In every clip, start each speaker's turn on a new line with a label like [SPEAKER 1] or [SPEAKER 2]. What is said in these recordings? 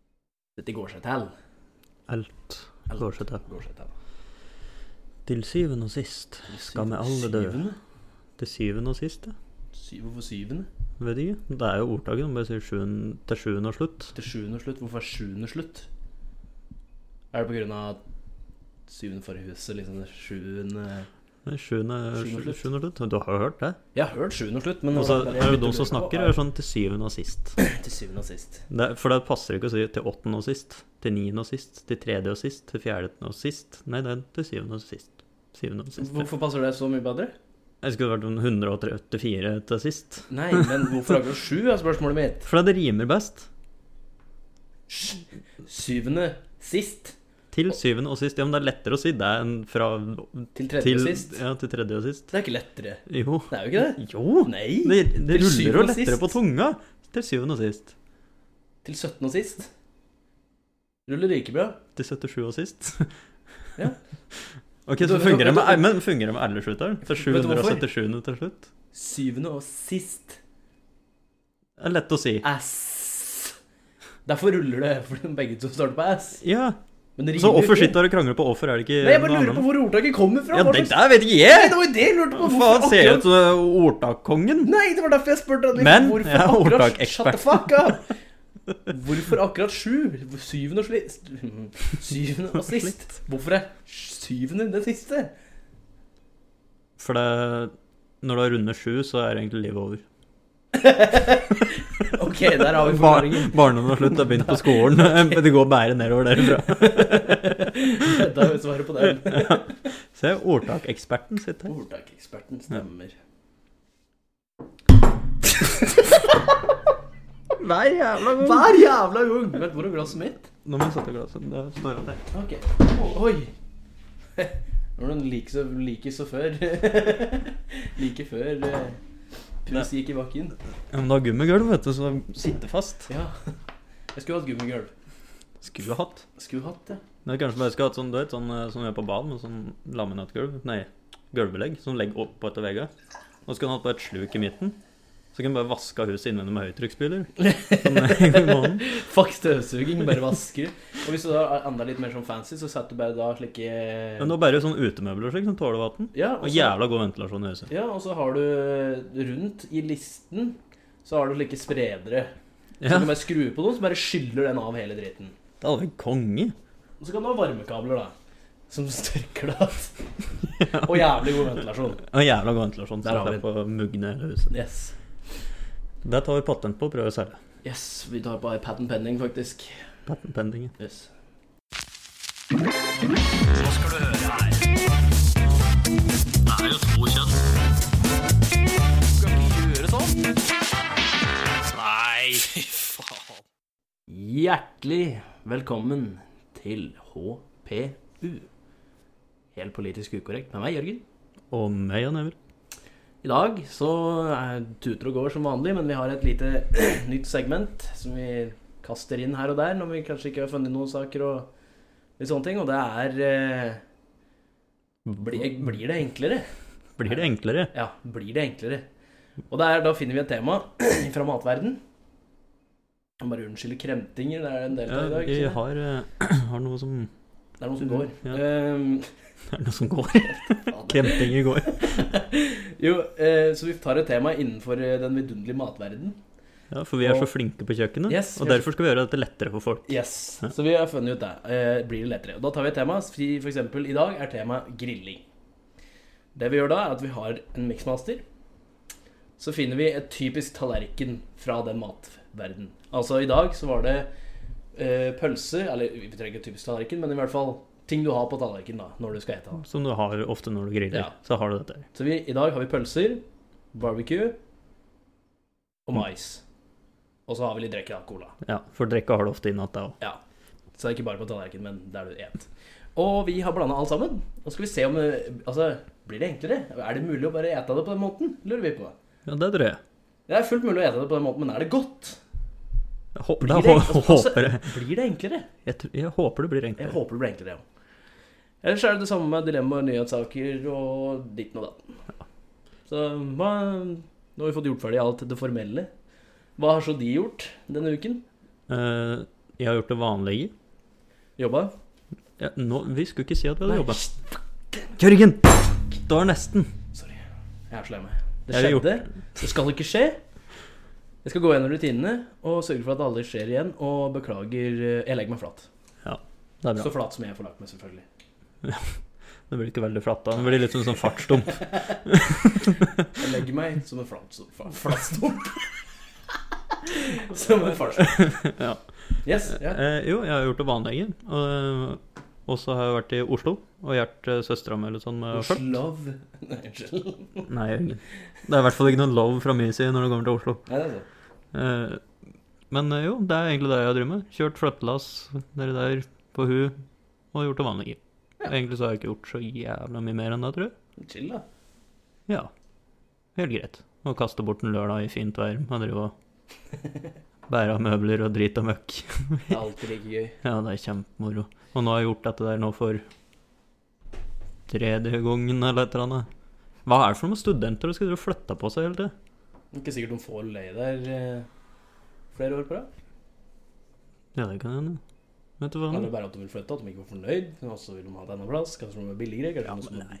[SPEAKER 1] absolutt det går seg til.
[SPEAKER 2] Alt går seg til.
[SPEAKER 1] Går seg til.
[SPEAKER 2] Til syvende og sist skal vi alle dø.
[SPEAKER 1] Syvende?
[SPEAKER 2] Til syvende og sist, ja.
[SPEAKER 1] Syv, hvorfor syvende?
[SPEAKER 2] Vet ikke. Det er jo ordtaket. De bare sier sjuende, til sjuende og slutt.
[SPEAKER 1] Til sjuende og slutt. Hvorfor er sjuende slutt? Er det på grunn av syvende for huset, liksom det sjuende
[SPEAKER 2] Nei,
[SPEAKER 1] Sjuende
[SPEAKER 2] Sjuende
[SPEAKER 1] og
[SPEAKER 2] sju-
[SPEAKER 1] slutt.
[SPEAKER 2] sjuende og slutt. Du har jo hørt det?
[SPEAKER 1] Jeg har hørt sjuende og slutt, men
[SPEAKER 2] Og så
[SPEAKER 1] det
[SPEAKER 2] er det
[SPEAKER 1] jeg
[SPEAKER 2] de som
[SPEAKER 1] begynte å
[SPEAKER 2] snakker,
[SPEAKER 1] lure
[SPEAKER 2] er
[SPEAKER 1] på,
[SPEAKER 2] sånn til syvende og sist.
[SPEAKER 1] er Til syvende og sist.
[SPEAKER 2] Det, er- for det passer ikke å si til åttende og sist, til niende og sist, til tredje og sist, til fjerde og sist. Nei, det er til syvende og sist. Syvende og sist.
[SPEAKER 1] Hvorfor passer det så mye bedre?
[SPEAKER 2] Jeg skulle vært om 184 til sist.
[SPEAKER 1] Nei, men hvorfor akkurat sju, er spørsmålet mitt.
[SPEAKER 2] For det rimer best.
[SPEAKER 1] Syvende sist
[SPEAKER 2] Til syvende og sist. Ja, men det er lettere å si det enn fra
[SPEAKER 1] til
[SPEAKER 2] til,
[SPEAKER 1] tredje og sist.
[SPEAKER 2] ja, til tredje og sist.
[SPEAKER 1] Det er ikke lettere.
[SPEAKER 2] Jo.
[SPEAKER 1] Det er jo ikke det.
[SPEAKER 2] Jo!
[SPEAKER 1] Nei.
[SPEAKER 2] Det, det
[SPEAKER 1] Til syvende
[SPEAKER 2] ruller jo
[SPEAKER 1] og
[SPEAKER 2] lettere
[SPEAKER 1] sist.
[SPEAKER 2] på tunga. Til syvende og sist.
[SPEAKER 1] Til 17 og sist. Ruller like bra.
[SPEAKER 2] Til 77 og sist.
[SPEAKER 1] Ja.
[SPEAKER 2] Ok,
[SPEAKER 1] Vet du-
[SPEAKER 2] så fungerer det
[SPEAKER 1] vet du-
[SPEAKER 2] med, men fungerer det med alle slutteren? Til
[SPEAKER 1] Vet du hvorfor?
[SPEAKER 2] 777 til slutt?
[SPEAKER 1] Syvende og sist.
[SPEAKER 2] Det er lett å si.
[SPEAKER 1] S. Derfor ruller det, for de begge to starter på S.
[SPEAKER 2] Ja,
[SPEAKER 1] Men det
[SPEAKER 2] Så
[SPEAKER 1] rimer jo
[SPEAKER 2] hvorfor
[SPEAKER 1] ikke.
[SPEAKER 2] sitter du og krangler på offer? Er det ikke
[SPEAKER 1] Nei, jeg bare
[SPEAKER 2] noe
[SPEAKER 1] lurer på
[SPEAKER 2] annet?
[SPEAKER 1] hvor ordtaket kommer fra.
[SPEAKER 2] Ja,
[SPEAKER 1] Hva
[SPEAKER 2] det
[SPEAKER 1] slags-
[SPEAKER 2] der vet ikke
[SPEAKER 1] Nei,
[SPEAKER 2] jeg!
[SPEAKER 1] det var jo det jeg lurte på. Hvorfor
[SPEAKER 2] Faen, ser
[SPEAKER 1] akkurat-
[SPEAKER 2] ut som du er ordtakkongen.
[SPEAKER 1] Nei, det var derfor jeg spurte. deg,
[SPEAKER 2] Men,
[SPEAKER 1] hvorfor
[SPEAKER 2] jeg er
[SPEAKER 1] akkurat-
[SPEAKER 2] ordtakekspert.
[SPEAKER 1] Shut the fuck up! Hvorfor akkurat sju? Syvende og sist. Syvende og sist. Hvorfor er syvende det siste?
[SPEAKER 2] For det, når du har rundet sju, så er egentlig livet over.
[SPEAKER 1] Ok, der har vi
[SPEAKER 2] Bar
[SPEAKER 1] forklaringen.
[SPEAKER 2] Barndommen har slutt, har begynt på skolen. men Det går bare nedover derfra.
[SPEAKER 1] Da har vi svaret på den.
[SPEAKER 2] Se, ordtakeksperten sitter her.
[SPEAKER 1] Ordtakeksperten stemmer.
[SPEAKER 2] Hver jævla
[SPEAKER 1] Hver jævla gang! Vent, hvor er glasset mitt?
[SPEAKER 2] Nå må jeg sette glasset. Det står at det er
[SPEAKER 1] Ok. Oi! Når den like så, like så før Like før eh, Pus gikk i bakken.
[SPEAKER 2] Ja, men du har gummigulv, vet du, så sitter fast.
[SPEAKER 1] Ja. Jeg skulle hatt gummigulv.
[SPEAKER 2] Skulle hatt.
[SPEAKER 1] Skulle hatt det.
[SPEAKER 2] Men jeg kanskje bare skal ha et sånn, du vet, sånn eh, som vi har på banen, med sånn laminatgulv. Nei, gulvbelegg. Som legger oppå etter veggene. Og så kan du ha bare et sluk i midten. Så kan du bare vaske av huset innvendig med høytrykksspyler. Sånn eh, en gang i måneden.
[SPEAKER 1] Fuck støvsuging, bare vasker. Og hvis du da er enda litt mer sånn fancy, så setter du bare da slike eh,
[SPEAKER 2] Men det er bare sånn utemøbler og slik som tåler vann.
[SPEAKER 1] ja, og
[SPEAKER 2] Og
[SPEAKER 1] så-
[SPEAKER 2] jævla god ventilasjon i huset.
[SPEAKER 1] ja, og så har du eh, rundt i listen så har du slike spredere. Så
[SPEAKER 2] Ja,
[SPEAKER 1] du kan
[SPEAKER 2] det
[SPEAKER 1] bare skru på noen, så bare skyller den av hele dritten.
[SPEAKER 2] hadde vært konge.
[SPEAKER 1] Og så kan du ha varmekabler, da. Som størker det igjen. Og jævlig god ventilasjon.
[SPEAKER 2] Og jævla god ventilasjon.
[SPEAKER 1] Der
[SPEAKER 2] Så
[SPEAKER 1] har vi
[SPEAKER 2] det er på å mugne hele huset.
[SPEAKER 1] Yes.
[SPEAKER 2] Det tar vi patent på og prøver å selge.
[SPEAKER 1] yes. Vi tar på iPaden pending, faktisk.
[SPEAKER 2] Patent pending.
[SPEAKER 1] Yes. Hjertelig velkommen til HPU. Helt politisk ukorrekt med meg, Jørgen.
[SPEAKER 2] Og meg og never.
[SPEAKER 1] I dag så er tuter og går som vanlig, men vi har et lite nytt segment som vi kaster inn her og der når vi kanskje ikke har funnet noen saker og litt sånne ting, og det er eh, blir, blir det enklere?
[SPEAKER 2] Blir det enklere?
[SPEAKER 1] Ja, blir det enklere? Og det er, da finner vi et tema fra matverden. Jeg må bare unnskylde kremtinger, det er en del
[SPEAKER 2] Ja,
[SPEAKER 1] av i dag.
[SPEAKER 2] vi
[SPEAKER 1] ikke sant?
[SPEAKER 2] har, eh, har noe som
[SPEAKER 1] Det er noe som går.
[SPEAKER 2] Ja.
[SPEAKER 1] Ehm,
[SPEAKER 2] Det er noe som går.
[SPEAKER 1] faen.
[SPEAKER 2] Kremtinger går.
[SPEAKER 1] jo, eh, så vi tar et tema innenfor eh, den vidunderlige matverden.
[SPEAKER 2] Ja, For vi er så
[SPEAKER 1] Og-
[SPEAKER 2] flinke på kjøkkenet,
[SPEAKER 1] Yes,
[SPEAKER 2] og
[SPEAKER 1] vi er-
[SPEAKER 2] derfor skal vi gjøre dette lettere for folk.
[SPEAKER 1] Yes,
[SPEAKER 2] Ja.
[SPEAKER 1] så vi har funnet ut det. Eh, blir det lettere. Og da tar vi et tema. Si For eksempel i dag er temaet grilling. Det vi gjør da, er at vi har en mixmaster. Så finner vi et typisk tallerken fra den matverden. Altså i dag så var det eh, pølse, eller vi trenger ikke typisk tallerken, men i hvert fall ting du har på tallerken da, når du skal ete.
[SPEAKER 2] Som du har ofte når du griller.
[SPEAKER 1] Ja.
[SPEAKER 2] Så har du dette. her.
[SPEAKER 1] Så vi, i dag har vi pølser, barbecue og mais. Og så har vi litt drikke, da, cola.
[SPEAKER 2] Ja, For drikka har du ofte innatt, det òg.
[SPEAKER 1] Ja. Så det er ikke bare på tallerken, men der du et. Og vi har blanda alt sammen. Nå skal vi se om eh, Altså, blir det enklere? Er det mulig å bare ete det på den måten? Lurer vi på.
[SPEAKER 2] Ja, det tror jeg.
[SPEAKER 1] Det er fullt mulig å ete det på den måten, men er det godt?
[SPEAKER 2] Jeg hå-
[SPEAKER 1] Blir
[SPEAKER 2] da
[SPEAKER 1] det,
[SPEAKER 2] hå-
[SPEAKER 1] altså,
[SPEAKER 2] håper jeg.
[SPEAKER 1] blir det enklere?
[SPEAKER 2] Jeg, tr- jeg håper det blir
[SPEAKER 1] Jeg
[SPEAKER 2] enklere.
[SPEAKER 1] håper det blir enklere, ja. Ellers er det det samme med dilemmaer, nyhetssaker og ditten og datten. Så hva Nå har vi fått gjort ferdig alt det formelle. Hva har så de gjort denne uken?
[SPEAKER 2] Eh, Jeg har gjort det vanlige.
[SPEAKER 1] Jobba?
[SPEAKER 2] Ja, nå, vi skulle ikke si at vi hadde
[SPEAKER 1] Nei,
[SPEAKER 2] jobba.
[SPEAKER 1] shit,
[SPEAKER 2] Jørgen! Det var nesten.
[SPEAKER 1] Sorry. Jeg er så lei meg. Det
[SPEAKER 2] Jeg har
[SPEAKER 1] skjedde. Det skal ikke skje. Jeg skal gå gjennom rutinene og sørge for at det aldri skjer igjen. Og beklager eh, Jeg legger meg flat.
[SPEAKER 2] Det er bra.
[SPEAKER 1] Så flat som jeg får lagt meg, selvfølgelig.
[SPEAKER 2] Det blir ikke veldig flatt da. Det blir litt som en sånn fartsdump.
[SPEAKER 1] Jeg legger meg som en flat, fa- flatstump. som en farsdump.
[SPEAKER 2] Ja.
[SPEAKER 1] Yes. Ja.
[SPEAKER 2] Eh, jo, jeg har gjort det vanlige. Og, og så har jeg vært i Oslo og hjulpet søstera mi litt sånn med skjørt.
[SPEAKER 1] Oslov Nei, unnskyld.
[SPEAKER 2] Nei, Jørgen. Det er i hvert fall ikke noen love fra min side når det kommer til Oslo.
[SPEAKER 1] Nei, det er sånn.
[SPEAKER 2] Eh, Men eh, jo, det er egentlig det jeg driver med. Kjørt flyttelass nedi der på hu og gjort det vanlige.
[SPEAKER 1] Ja.
[SPEAKER 2] Egentlig så har jeg ikke gjort så jævla mye mer enn det, tror jeg.
[SPEAKER 1] sånn. Chill, da.
[SPEAKER 2] Ja. Helt greit. Å kaste bort en lørdag i fint vær og drive og bære av møbler og drit og møkk.
[SPEAKER 1] Det er alltid like gøy.
[SPEAKER 2] Ja, det er kjempemoro. Og nå har jeg gjort dette der nå for tredje gangen eller et eller annet. Hva er det for noen studenter som skal drive og flytte på seg hele tida?
[SPEAKER 1] Ikke sikkert de får leie der eh, flere år på rad.
[SPEAKER 2] Ja, det kan hende. Vet du hva?
[SPEAKER 1] Eller bare at de vil flytte, at de ikke var fornøyd. Og så vil de ha et annet plass. Kanskje de er billigere. Kanskje
[SPEAKER 2] Ja,
[SPEAKER 1] de
[SPEAKER 2] men
[SPEAKER 1] også-
[SPEAKER 2] nei.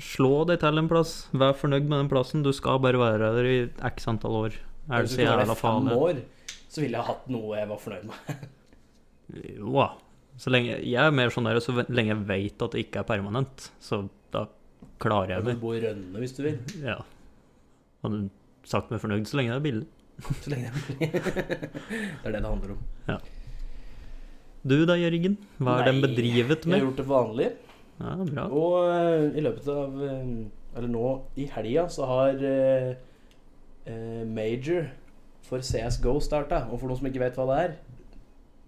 [SPEAKER 2] Slå deg til en plass. Vær fornøyd med den plassen. Du skal bare være der i x antall år. Er det
[SPEAKER 1] Hvis
[SPEAKER 2] så
[SPEAKER 1] jeg skulle
[SPEAKER 2] jævla
[SPEAKER 1] være fem
[SPEAKER 2] farlig?
[SPEAKER 1] år, så ville jeg hatt noe jeg var fornøyd med.
[SPEAKER 2] Jo da. Så lenge, jeg er mer sånn der så lenge jeg veit at det ikke er permanent, så da klarer
[SPEAKER 1] Du kan
[SPEAKER 2] jeg meg.
[SPEAKER 1] bo i Rønne hvis du vil.
[SPEAKER 2] Ja. Hadde sagt meg fornøyd så lenge det er billig.
[SPEAKER 1] Så lenge jeg vil. Det er det det handler om.
[SPEAKER 2] Du da, Jørgen? Hva er den
[SPEAKER 1] Nei,
[SPEAKER 2] bedrivet
[SPEAKER 1] Jeg har gjort
[SPEAKER 2] med?
[SPEAKER 1] det vanlige.
[SPEAKER 2] Ja, bra.
[SPEAKER 1] Og eh, i løpet av eh, Eller nå i helga så har eh, eh, Major for CSGO starta. Og for noen som ikke vet hva det er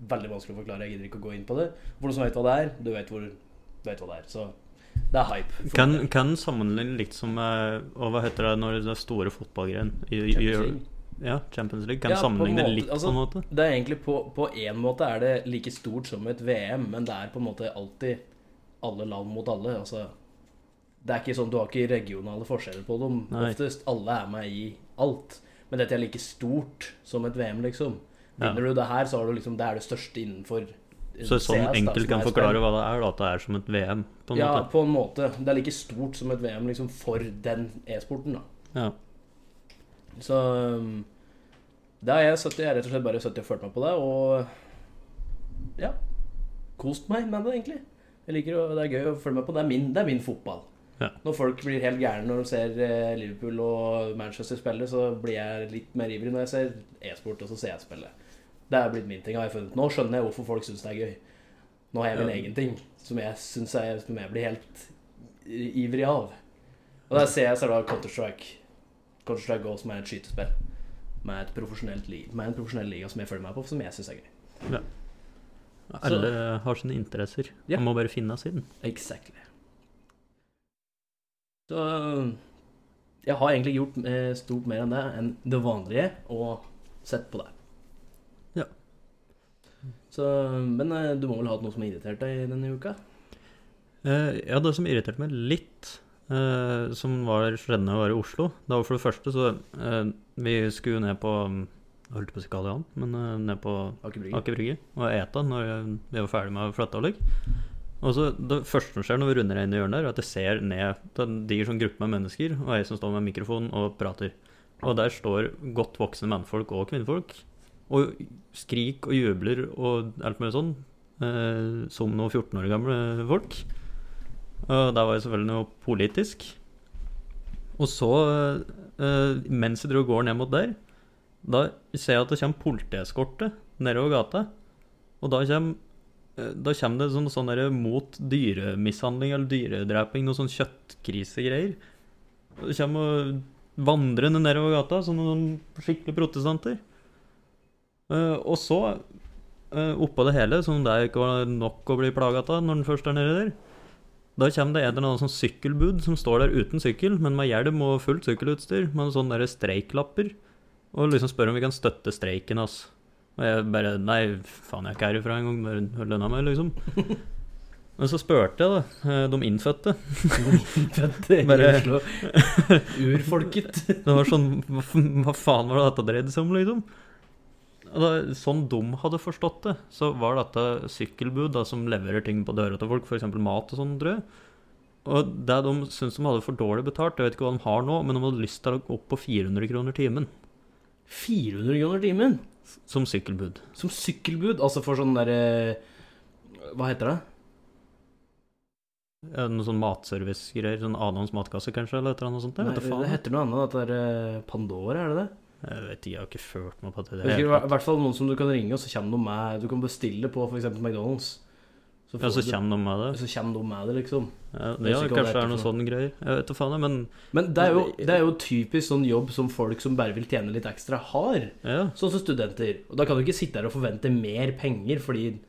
[SPEAKER 1] Veldig vanskelig å forklare, jeg gidder ikke å gå inn på det. For noen som vet hva det er, du vet hvor du vet hva det er. Så det er hype. For
[SPEAKER 2] Kan, kan sammenligne litt som eh, Og hva heter det når det er store fotballgreien? I- i-
[SPEAKER 1] Champions League.
[SPEAKER 2] Ja, Champions League. Kan
[SPEAKER 1] Ja, på en
[SPEAKER 2] sammenligne
[SPEAKER 1] måte.
[SPEAKER 2] litt
[SPEAKER 1] Altså,
[SPEAKER 2] på en måte.
[SPEAKER 1] Det er egentlig på, på en måte er det like stort som et VM, men det er på en måte alltid alle land mot alle. Altså, det er ikke sånn, Du har ikke regionale forskjeller på dem.
[SPEAKER 2] Nei.
[SPEAKER 1] Oftest alle er med i alt. Men dette er like stort som et VM, liksom.
[SPEAKER 2] Ja.
[SPEAKER 1] Vinner du det her, så har du liksom, det er det største innenfor eh,
[SPEAKER 2] Så sånn enkelt kan forklare
[SPEAKER 1] hva
[SPEAKER 2] hva det er, da, at det er som et VM, på en
[SPEAKER 1] Ja,
[SPEAKER 2] måte.
[SPEAKER 1] på en måte. Det er like stort som et VM liksom, for den e-sporten. da
[SPEAKER 2] Ja.
[SPEAKER 1] Så um, da er jeg 70, jeg er rett og slett bare 70 og følt meg på det, og ja. Kost meg med det, egentlig. Jeg liker å, Det er gøy å følge meg på. Det er min, det er min fotball.
[SPEAKER 2] Ja.
[SPEAKER 1] Når folk blir helt gærne når de ser eh, Liverpool og Manchester spille, så blir jeg litt mer ivrig når jeg ser e-sport og så ser jeg spille. Det er blitt min ting. har jeg funnet. Nå skjønner jeg hvorfor folk syns det er gøy. Nå har jeg min
[SPEAKER 2] Ja.
[SPEAKER 1] egen ting som jeg syns jeg, som jeg blir helt i- ivrig av. Og der ser jeg så er det Counter-Strike. Counter-Strike Go som er et skytespill. Med, et profesjonelt li- med en profesjonell liga som jeg følger meg på, som jeg syns er gøy.
[SPEAKER 2] Alle har sine interesser.
[SPEAKER 1] Ja.
[SPEAKER 2] Man må bare finne sin.
[SPEAKER 1] Exactly. Så jeg har egentlig gjort eh, stort mer enn det enn det vanlige, og sett på det.
[SPEAKER 2] Ja.
[SPEAKER 1] Så, men eh, du må vel ha hatt noe som har irritert deg denne uka?
[SPEAKER 2] Eh, ja, det som irriterte meg litt, eh, som var skjedde når jeg var i Oslo Det var for det første så eh, Vi skulle ned på mm, Jeg holdt på å si Kalian, men eh, ned på
[SPEAKER 1] Aker Brygge?
[SPEAKER 2] Aker Brygge og ete når vi var ferdig med å flytte og ligge. Og så Det første som skjer når vi runder inn i hjørnet, der, er at jeg ser ned til en diger sånn gruppe med mennesker, og jeg som står med mikrofon og prater. Og der står godt voksne mannfolk og kvinnfolk og skrik og jubler og alt mulig sånn, eh, som noen 14 år gamle folk. Og der var jo selvfølgelig noe politisk. Og så, eh, mens jeg dro og går ned mot der, da ser jeg at det kommer politieskorte nedover gata. Og da kommer, eh, da kommer det sånn, sånn der mot dyremishandling eller dyredreping, noe sånn kjøttkrisegreier. Og Det kommer og vandrende nedover gata som noen skikkelig protestanter. Eh, og så, eh, oppå det hele, som det er ikke var nok å bli plaga av når den først er nede der, da kommer det en eller annen sånn sykkelbud som står der uten sykkel, men med hjelm og fullt sykkelutstyr, med sånne der streiklapper, og liksom spør om vi kan støtte streiken hans. Og jeg bare Nei, faen, jeg er ikke herifra engang, bare hold lønna meg, liksom. Men så spurte jeg, da, eh, de innfødte.
[SPEAKER 1] Bare
[SPEAKER 2] Bare-
[SPEAKER 1] eh, Oslo. Urfolket.
[SPEAKER 2] Det var sånn Hva, f- hva faen var det dette dreide seg om, liksom? Og da, sånn de hadde forstått det, så var dette sykkelbud da, som leverer ting på døra til folk, f.eks. mat og sånn, tror jeg. Og det de syntes de hadde for dårlig betalt, jeg vet ikke hva de har nå, men de hadde lyst til å gå opp på 400 kroner timen
[SPEAKER 1] 400 kroner timen
[SPEAKER 2] som sykkelbud.
[SPEAKER 1] som sykkelbud, altså for sånn derre Hva heter det?
[SPEAKER 2] Eh, Noe sånn matservice-greier, sånn Adams matkasse kanskje, eller et eller annet sånt. Jeg
[SPEAKER 1] Nei,
[SPEAKER 2] vet da
[SPEAKER 1] det
[SPEAKER 2] faen.
[SPEAKER 1] heter noe annet. Dette er eh, Pandora, er det det?
[SPEAKER 2] Jeg vet ikke, jeg har ikke ført meg på det.
[SPEAKER 1] Jeg husker, I hvert fall noen som du kan ringe, og så kommer de med Du kan bestille på f.eks. McDonald's. Så,
[SPEAKER 2] Ja,
[SPEAKER 1] får
[SPEAKER 2] så
[SPEAKER 1] du-
[SPEAKER 2] kommer de med det.
[SPEAKER 1] så kommer de med det, liksom.
[SPEAKER 2] Ja,
[SPEAKER 1] Jeg
[SPEAKER 2] ja
[SPEAKER 1] husker ikke hva det
[SPEAKER 2] kanskje det er
[SPEAKER 1] heter
[SPEAKER 2] noe
[SPEAKER 1] for
[SPEAKER 2] sånn greier. Jeg vet da faen, jeg, men
[SPEAKER 1] Men det er, jo, det er jo typisk sånn jobb som folk som bare vil tjene litt ekstra, har.
[SPEAKER 2] ja.
[SPEAKER 1] Sånn som studenter. Og da kan du ikke sitte her og forvente mer penger fordi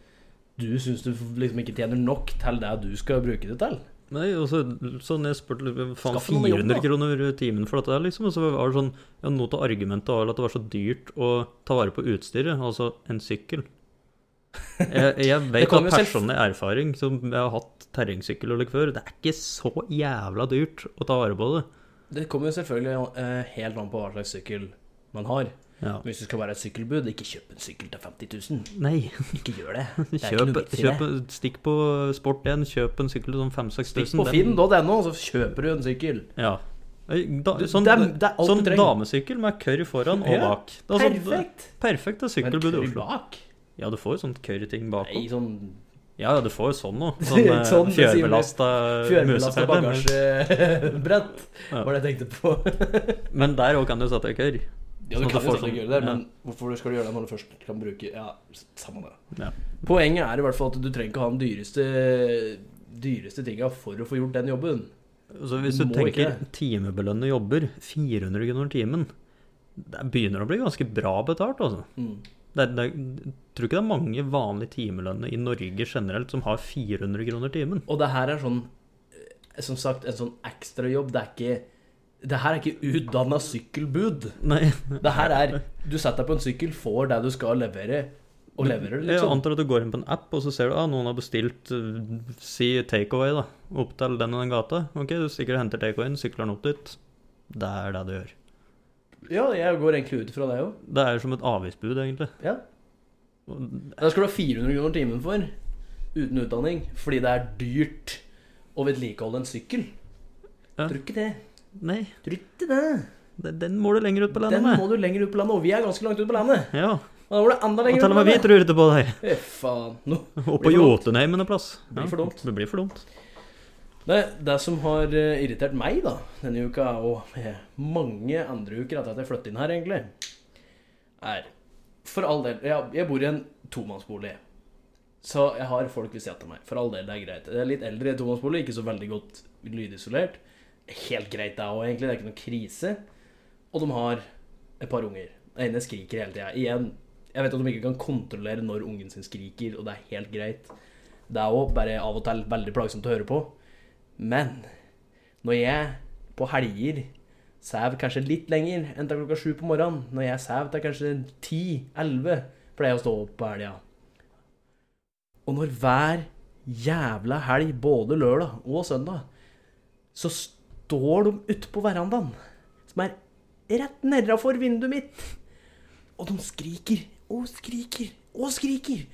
[SPEAKER 1] du syns du liksom ikke tjener nok til det du skal bruke det til.
[SPEAKER 2] Nei, og så, sånn jeg spurte litt, faen
[SPEAKER 1] Skaff deg noe jobb,
[SPEAKER 2] 400
[SPEAKER 1] da.
[SPEAKER 2] kroner timen for dette der, liksom. Og så var det sånn ja, Noe av argumentet var vel at det var så dyrt å ta vare på utstyret, altså en sykkel. Jeg, jeg
[SPEAKER 1] Det
[SPEAKER 2] vet av
[SPEAKER 1] kommer jo selv-
[SPEAKER 2] personlig erfaring, som jeg har hatt terrengsykkel og like før, det er ikke så jævla dyrt å ta vare på det.
[SPEAKER 1] Det kommer jo selvfølgelig eh, helt an på hva slags sykkel man har.
[SPEAKER 2] Ja.
[SPEAKER 1] Hvis du skal være et sykkelbud, ikke kjøp en sykkel til 50 000.
[SPEAKER 2] Nei,
[SPEAKER 1] Ikke gjør det. Det er ikke
[SPEAKER 2] kjøp,
[SPEAKER 1] noe vits i
[SPEAKER 2] kjøp,
[SPEAKER 1] det.
[SPEAKER 2] stikk på Sport1, kjøp en sykkel til sånn 5000-6000.
[SPEAKER 1] Stikk på finn.no, så kjøper du en sykkel.
[SPEAKER 2] Ja. Da,
[SPEAKER 1] Du-
[SPEAKER 2] sånn
[SPEAKER 1] det er- det er alt du
[SPEAKER 2] sånn
[SPEAKER 1] trenger.
[SPEAKER 2] damesykkel med curry foran og
[SPEAKER 1] Ja,
[SPEAKER 2] bak. Det er sånn-
[SPEAKER 1] Perfekt!
[SPEAKER 2] Perfekt det er
[SPEAKER 1] Men
[SPEAKER 2] sykkelbud i
[SPEAKER 1] kjør
[SPEAKER 2] Oslo.
[SPEAKER 1] bak?
[SPEAKER 2] Ja, du får jo sånn curryting bakom.
[SPEAKER 1] Nei, sånn
[SPEAKER 2] Ja, ja, du får jo sånn nå. Sånn, eh,
[SPEAKER 1] Sånn, det sier vi.
[SPEAKER 2] fjørbelasta
[SPEAKER 1] fjørbelasta
[SPEAKER 2] musefelle. Eh, Men,
[SPEAKER 1] bagasjebrett,
[SPEAKER 2] Ja.
[SPEAKER 1] var det jeg tenkte på.
[SPEAKER 2] men der òg kan du sette curry.
[SPEAKER 1] Ja,
[SPEAKER 2] Sånn
[SPEAKER 1] du kan jo
[SPEAKER 2] at du får
[SPEAKER 1] selvfølgelig
[SPEAKER 2] sånn-
[SPEAKER 1] gjøre det,
[SPEAKER 2] ja.
[SPEAKER 1] men hvorfor skal du gjøre det når du først kan bruke Ja, samme det.
[SPEAKER 2] Ja.
[SPEAKER 1] Poenget er i hvert fall at du trenger ikke ha den dyreste Dyreste tinga for å få gjort den jobben.
[SPEAKER 2] Så hvis du
[SPEAKER 1] Må
[SPEAKER 2] tenker
[SPEAKER 1] ikke det.
[SPEAKER 2] timebelønna jobber, 400 kroner timen, det begynner å bli ganske bra betalt, altså.
[SPEAKER 1] Mm.
[SPEAKER 2] Det, er- det, er- jeg tror ikke det er mange vanlige timelønner i Norge generelt som har 400 kroner timen.
[SPEAKER 1] Og det her er sånn eh, Som sagt, en sånn ekstrajobb. Det er ikke Det her er ikke utdanna sykkelbud.
[SPEAKER 2] Nei,
[SPEAKER 1] Det her er Du setter deg på en sykkel, får det du skal levere, og leverer det,
[SPEAKER 2] Jeg
[SPEAKER 1] liksom.
[SPEAKER 2] antar at du går inn på en app, og så ser du at ah, noen har bestilt eh, si takeaway da, opp til den og den gata. Ok, du stikker og henter takeawayen, sykler den opp dit. Det er det du gjør.
[SPEAKER 1] Ja, jeg går egentlig ut fra det òg.
[SPEAKER 2] Det er som et avgiftsbud, egentlig.
[SPEAKER 1] Ja.
[SPEAKER 2] Og-
[SPEAKER 1] Da skal du ha 400 kroner timen for, uten utdanning, fordi det er dyrt å vedlikeholde en sykkel.
[SPEAKER 2] Ja.
[SPEAKER 1] Tror ikke det.
[SPEAKER 2] Nei,
[SPEAKER 1] Tror ikke det.
[SPEAKER 2] det- den må du lenger ut på landet
[SPEAKER 1] Den
[SPEAKER 2] med.
[SPEAKER 1] må du lenger ut på landet, og vi er ganske langt ut på landet.
[SPEAKER 2] Ja,
[SPEAKER 1] Og da må du enda
[SPEAKER 2] og
[SPEAKER 1] lenger
[SPEAKER 2] til og med vi tror ikke på deg.
[SPEAKER 1] Fy faen. Nå. Blir for
[SPEAKER 2] Og på
[SPEAKER 1] dumt.
[SPEAKER 2] Jotunheimen en plass.
[SPEAKER 1] Blir for dumt.
[SPEAKER 2] Det blir for dumt.
[SPEAKER 1] Det, det som har eh, irritert meg da, denne uka, og eh, mange andre uker etter at jeg flyttet inn her, egentlig, er For all del Jeg, jeg bor i en tomannsbolig. Så jeg har folk ved siden av meg. For all del, det er greit. Jeg er litt eldre i tomannsbolig, ikke så veldig godt lydisolert. Helt greit, det òg, egentlig. Det er ikke noen krise. Og de har et par unger. Den ene skriker hele tida. Igjen, jeg vet at de ikke kan kontrollere når ungen sin skriker, og det er helt greit. Det er òg bare av og til veldig plagsomt å høre på. Men når jeg på helger sev kanskje litt lenger enn til klokka sju på morgenen, når jeg sev til kanskje ti-elleve, pleier jeg å stå opp på helga. Og når hver jævla helg, både lørdag og søndag, så står de ute på verandaen, som er rett nedafor vinduet mitt, og de skriker og skriker og skriker.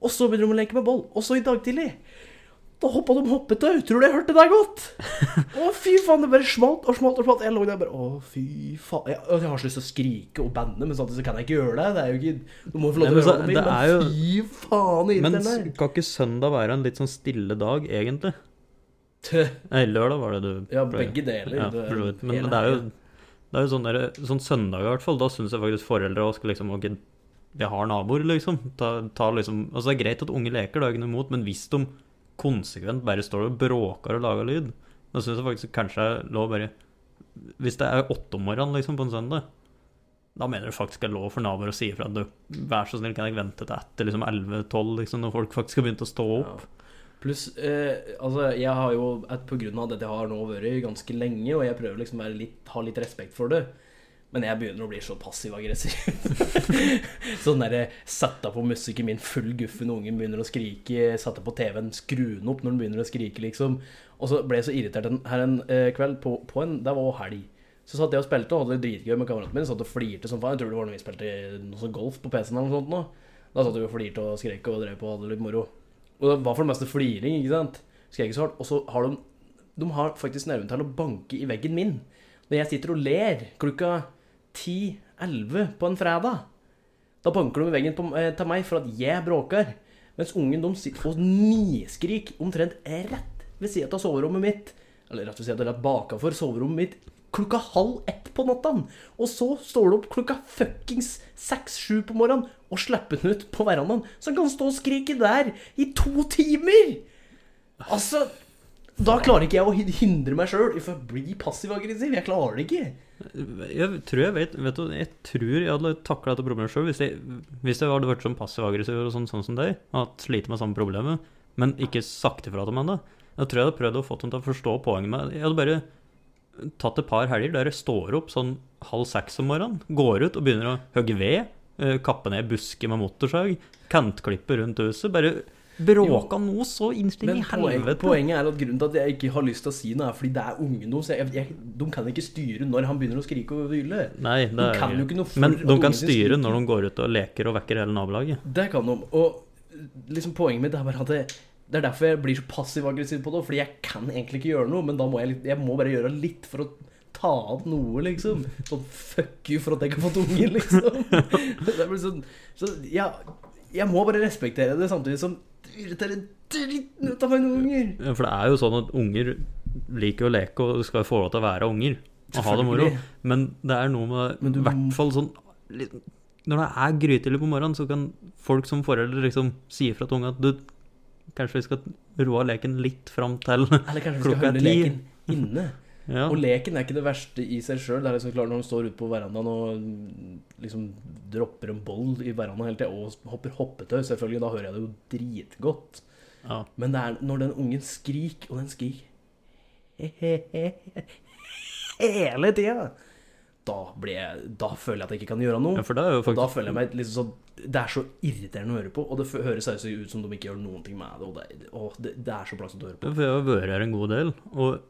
[SPEAKER 1] Og så begynner de å leke med ball. Og så i dag tidlig da hoppa de hoppetau. Tror du jeg hørte deg godt? Å, fy faen. Det bare smalt og smalt og smalt. Jeg lå der bare Å, fy faen. Jeg, altså, jeg har så lyst til å skrike og banne, men samtidig så kan jeg ikke gjøre det. Det er jo ikke Du må jo få lov til å
[SPEAKER 2] Nei,
[SPEAKER 1] gjøre
[SPEAKER 2] men så-
[SPEAKER 1] hva du vil,
[SPEAKER 2] det er
[SPEAKER 1] men fy faen.
[SPEAKER 2] Men
[SPEAKER 1] irriterende.
[SPEAKER 2] s- kan ikke søndag være en litt sånn stille dag, egentlig? Nei, lørdag var det du
[SPEAKER 1] Ja,
[SPEAKER 2] pleier.
[SPEAKER 1] begge deler.
[SPEAKER 2] Ja,
[SPEAKER 1] Det-
[SPEAKER 2] for så vidt.
[SPEAKER 1] hele
[SPEAKER 2] Men det er jo,
[SPEAKER 1] helgen.
[SPEAKER 2] det er jo sånn, der, sånn søndag i hvert fall, da syns jeg faktisk foreldre også skal liksom ok, Vi har naboer, liksom. Ta, ta liksom. Altså, det er greit at unge leker, det er ikke noe imot, men hvis de konsekvent bare står og bråker og lager lyd, da syns jeg faktisk kanskje det er lov bare Hvis det er åtte om morgenen liksom, på en søndag, da mener jeg det faktisk det er lov for naboer å si ifra at du, vær så snill, kan jeg vente til etter liksom 11-12, liksom, når folk faktisk har begynt å stå opp?
[SPEAKER 1] Pluss, eh, altså, jeg har jo at på grunn av dette har nå vært ganske lenge, og jeg prøver liksom å være litt, ha litt respekt for det. Men jeg begynner å bli så passiv-aggressiv. sånn derre Sette på musikken min, full guffen, ungen begynner å skrike. Sette på TV-en, skru den opp når den begynner å skrike, liksom. Og så ble jeg så irritert en, her en eh, kveld på, på en Det var jo helg. Så satt jeg og spilte og hadde det dritgøy med kameraten min. Satt og flirte som faen. Jeg tror det var når vi spilte noe sånn golf på PC-en eller noe sånt. Nå. Da satt vi og flirte og skrek og drev på og hadde det litt moro. Og det var for det meste fliring, ikke sant. Skrek så hardt. Og så har de De har faktisk nerven til å banke i veggen min. Når jeg sitter og ler klokka 10-11 på en fredag. Da banker de i veggen på, eh, til meg for at jeg bråker. Mens ungen de sitter og niskrik omtrent rett ved siden av soverommet mitt. Eller rett ved siden av rett bakenfor soverommet mitt klokka halv ett på natta. Og så står du opp klokka fuckings seks-sju på morgenen og slipper den ut på verandaen. Så han kan stå og skrike der i to timer! Altså Da klarer ikke jeg å hin- hindre meg sjøl i å bli passiv-aggressiv. Jeg klarer det ikke.
[SPEAKER 2] Jeg tror jeg vet, vet du, jeg tror jeg hadde takla dette problemet sjøl hvis, jeg- hvis jeg hadde vært sånn passiv-aggressiv og sånn, sånn som deg, og hatt slitt med samme problemet, men ikke sagt ifra til meg ennå. Jeg tror jeg hadde prøvd å få dem til å forstå poenget med Jeg hadde bare tatt et par helger der jeg står opp sånn halv seks om morgenen, går ut og begynner å hogge ved, eh, kappe ned busker med motorsag, kantklippe rundt huset, bare bråka noe så innstilt i
[SPEAKER 1] Men poen,
[SPEAKER 2] helvete.
[SPEAKER 1] poenget er at grunnen til at jeg ikke har lyst til å si noe, er fordi det er ungen deres. Jeg- jeg- De kan ikke styre når han begynner å skrike og hyle.
[SPEAKER 2] Nei, det
[SPEAKER 1] De
[SPEAKER 2] er
[SPEAKER 1] kan jo
[SPEAKER 2] greit.
[SPEAKER 1] ikke noe for
[SPEAKER 2] Men
[SPEAKER 1] at
[SPEAKER 2] de
[SPEAKER 1] ungen
[SPEAKER 2] kan
[SPEAKER 1] sin
[SPEAKER 2] styre
[SPEAKER 1] skriker.
[SPEAKER 2] når de går ut og leker og vekker hele nabolaget.
[SPEAKER 1] Det kan de. Og liksom poenget mitt er bare at det, det er derfor jeg blir så passiv-aggressiv på det. Fordi jeg kan egentlig ikke gjøre noe, men da må jeg, litt- jeg må bare gjøre litt for å ta opp noe, liksom. Sånn fuck you for at jeg ikke har fått unger, liksom. Det blir sånn, så jeg, jeg må bare respektere det, samtidig som det irriterer dritten ut av meg noen unger.
[SPEAKER 2] Ja, For det er jo sånn at unger liker å leke og skal få lov til å være unger og ha det moro.
[SPEAKER 1] Selvfølgelig.
[SPEAKER 2] Men det er noe
[SPEAKER 1] Men
[SPEAKER 2] med
[SPEAKER 1] du
[SPEAKER 2] i hvert
[SPEAKER 1] må-
[SPEAKER 2] fall sånn litt- Når det er grytidlig på morgenen, så kan folk som foreldre liksom si ifra til ungene at du, kanskje vi skal roe leken litt fram til
[SPEAKER 1] Eller kanskje vi skal
[SPEAKER 2] klokka er
[SPEAKER 1] holde
[SPEAKER 2] ti.
[SPEAKER 1] leken inne.
[SPEAKER 2] Ja.
[SPEAKER 1] Og leken er ikke det verste i seg sjøl. Det er liksom klart når de står ute på verandaen og liksom dropper en boll i verandaen hele tida, og hopper hoppetau, selvfølgelig, da hører jeg det jo dritgodt.
[SPEAKER 2] Ja.
[SPEAKER 1] Men det er når den ungen skriker, og den skriker hele tida, da blir jeg Da føler jeg at jeg ikke kan gjøre
[SPEAKER 2] ja,
[SPEAKER 1] noe.
[SPEAKER 2] for det er jo
[SPEAKER 1] Og da
[SPEAKER 2] faktisk
[SPEAKER 1] føler jeg meg liksom sånn Det er så irriterende å høre på, og det f- høres seriøst ut som de ikke gjør noen ting med det, og det, og det, det er så plagsomt å høre på.
[SPEAKER 2] For jeg har vært her en god del, og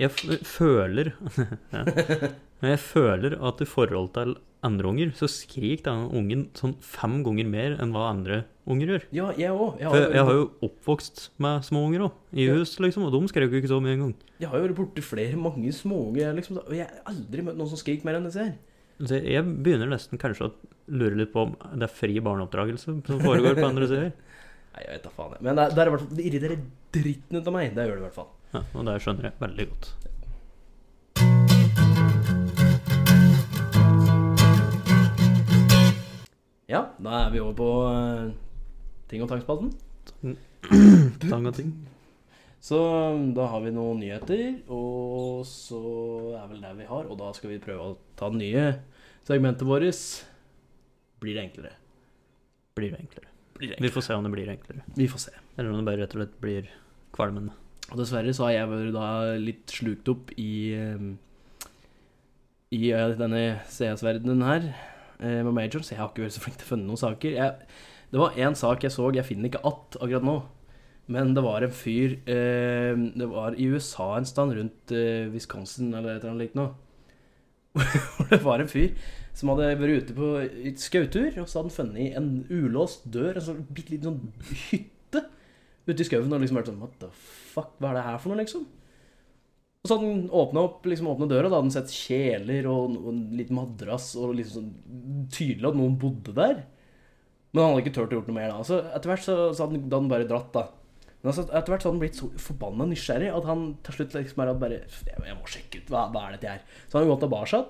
[SPEAKER 2] jeg f føler ja. Men Jeg føler at i forhold til andre unger, så skriker denne ungen sånn fem ganger mer enn hva andre unger gjør.
[SPEAKER 1] Ja, jeg òg. Jeg,
[SPEAKER 2] For
[SPEAKER 1] har
[SPEAKER 2] jeg, jeg
[SPEAKER 1] jo-
[SPEAKER 2] har jo oppvokst med små unger òg, i
[SPEAKER 1] Ja.
[SPEAKER 2] hus, liksom, og de skrek jo ikke så mye engang.
[SPEAKER 1] Jeg har jo vært borte flere mange småunger, liksom, og jeg har aldri møtt noen som skriker mer enn disse her.
[SPEAKER 2] Så jeg- jeg begynner nesten kanskje å lure litt på om det er fri barneoppdragelse som foregår på andre sider.
[SPEAKER 1] Nei, jeg vet da faen. jeg. Men det, er- det, er i hvert fall, det irriterer dritten ut av meg. Det gjør det i hvert fall.
[SPEAKER 2] Ja, og det skjønner jeg veldig godt.
[SPEAKER 1] Ja, da er vi over på eh, ting og tangspalten.
[SPEAKER 2] Tang og ting.
[SPEAKER 1] Så da har vi noen nyheter, og så er vel det vi har. Og da skal vi prøve å ta det nye segmentet vårt. Blir det enklere?
[SPEAKER 2] Blir det enklere.
[SPEAKER 1] Blir det
[SPEAKER 2] Vi får se om det blir enklere.
[SPEAKER 1] enklere? Vi får se.
[SPEAKER 2] Eller om det bare rett og slett blir kvalmende.
[SPEAKER 1] Og dessverre så har jeg vært da litt slukt opp i eh, I eh, denne CS-verdenen her eh, med Major, så jeg har ikke vært så flink til å finne noen saker. Jeg, det var én sak jeg så, jeg finner ikke att akkurat nå. Men det var en fyr eh, Det var i USA en stand, rundt eh, Wisconsin eller et eller annet likt noe. Hvor det var en fyr som hadde vært ute på et skautur, og så hadde han funnet en ulåst dør, en sånn bitte liten sånn hytte ute i skauen, og liksom vært sånn What the fuck, hva er det her for noe, liksom? Og så hadde han åpna opp, liksom åpnet døra, da hadde han sett kjeler og, og en liten madrass, og liksom sånn tydelig at noen bodde der. Men han hadde ikke turt å gjort noe mer da. Så etter hvert så, så hadde han, da hadde han bare dratt, da. Men altså, etter hvert så hadde han blitt så forbanna nysgjerrig at han til slutt liksom bare, bare jeg, jeg må sjekke ut, hva, hva er dette her? Så hadde han gått tilbake,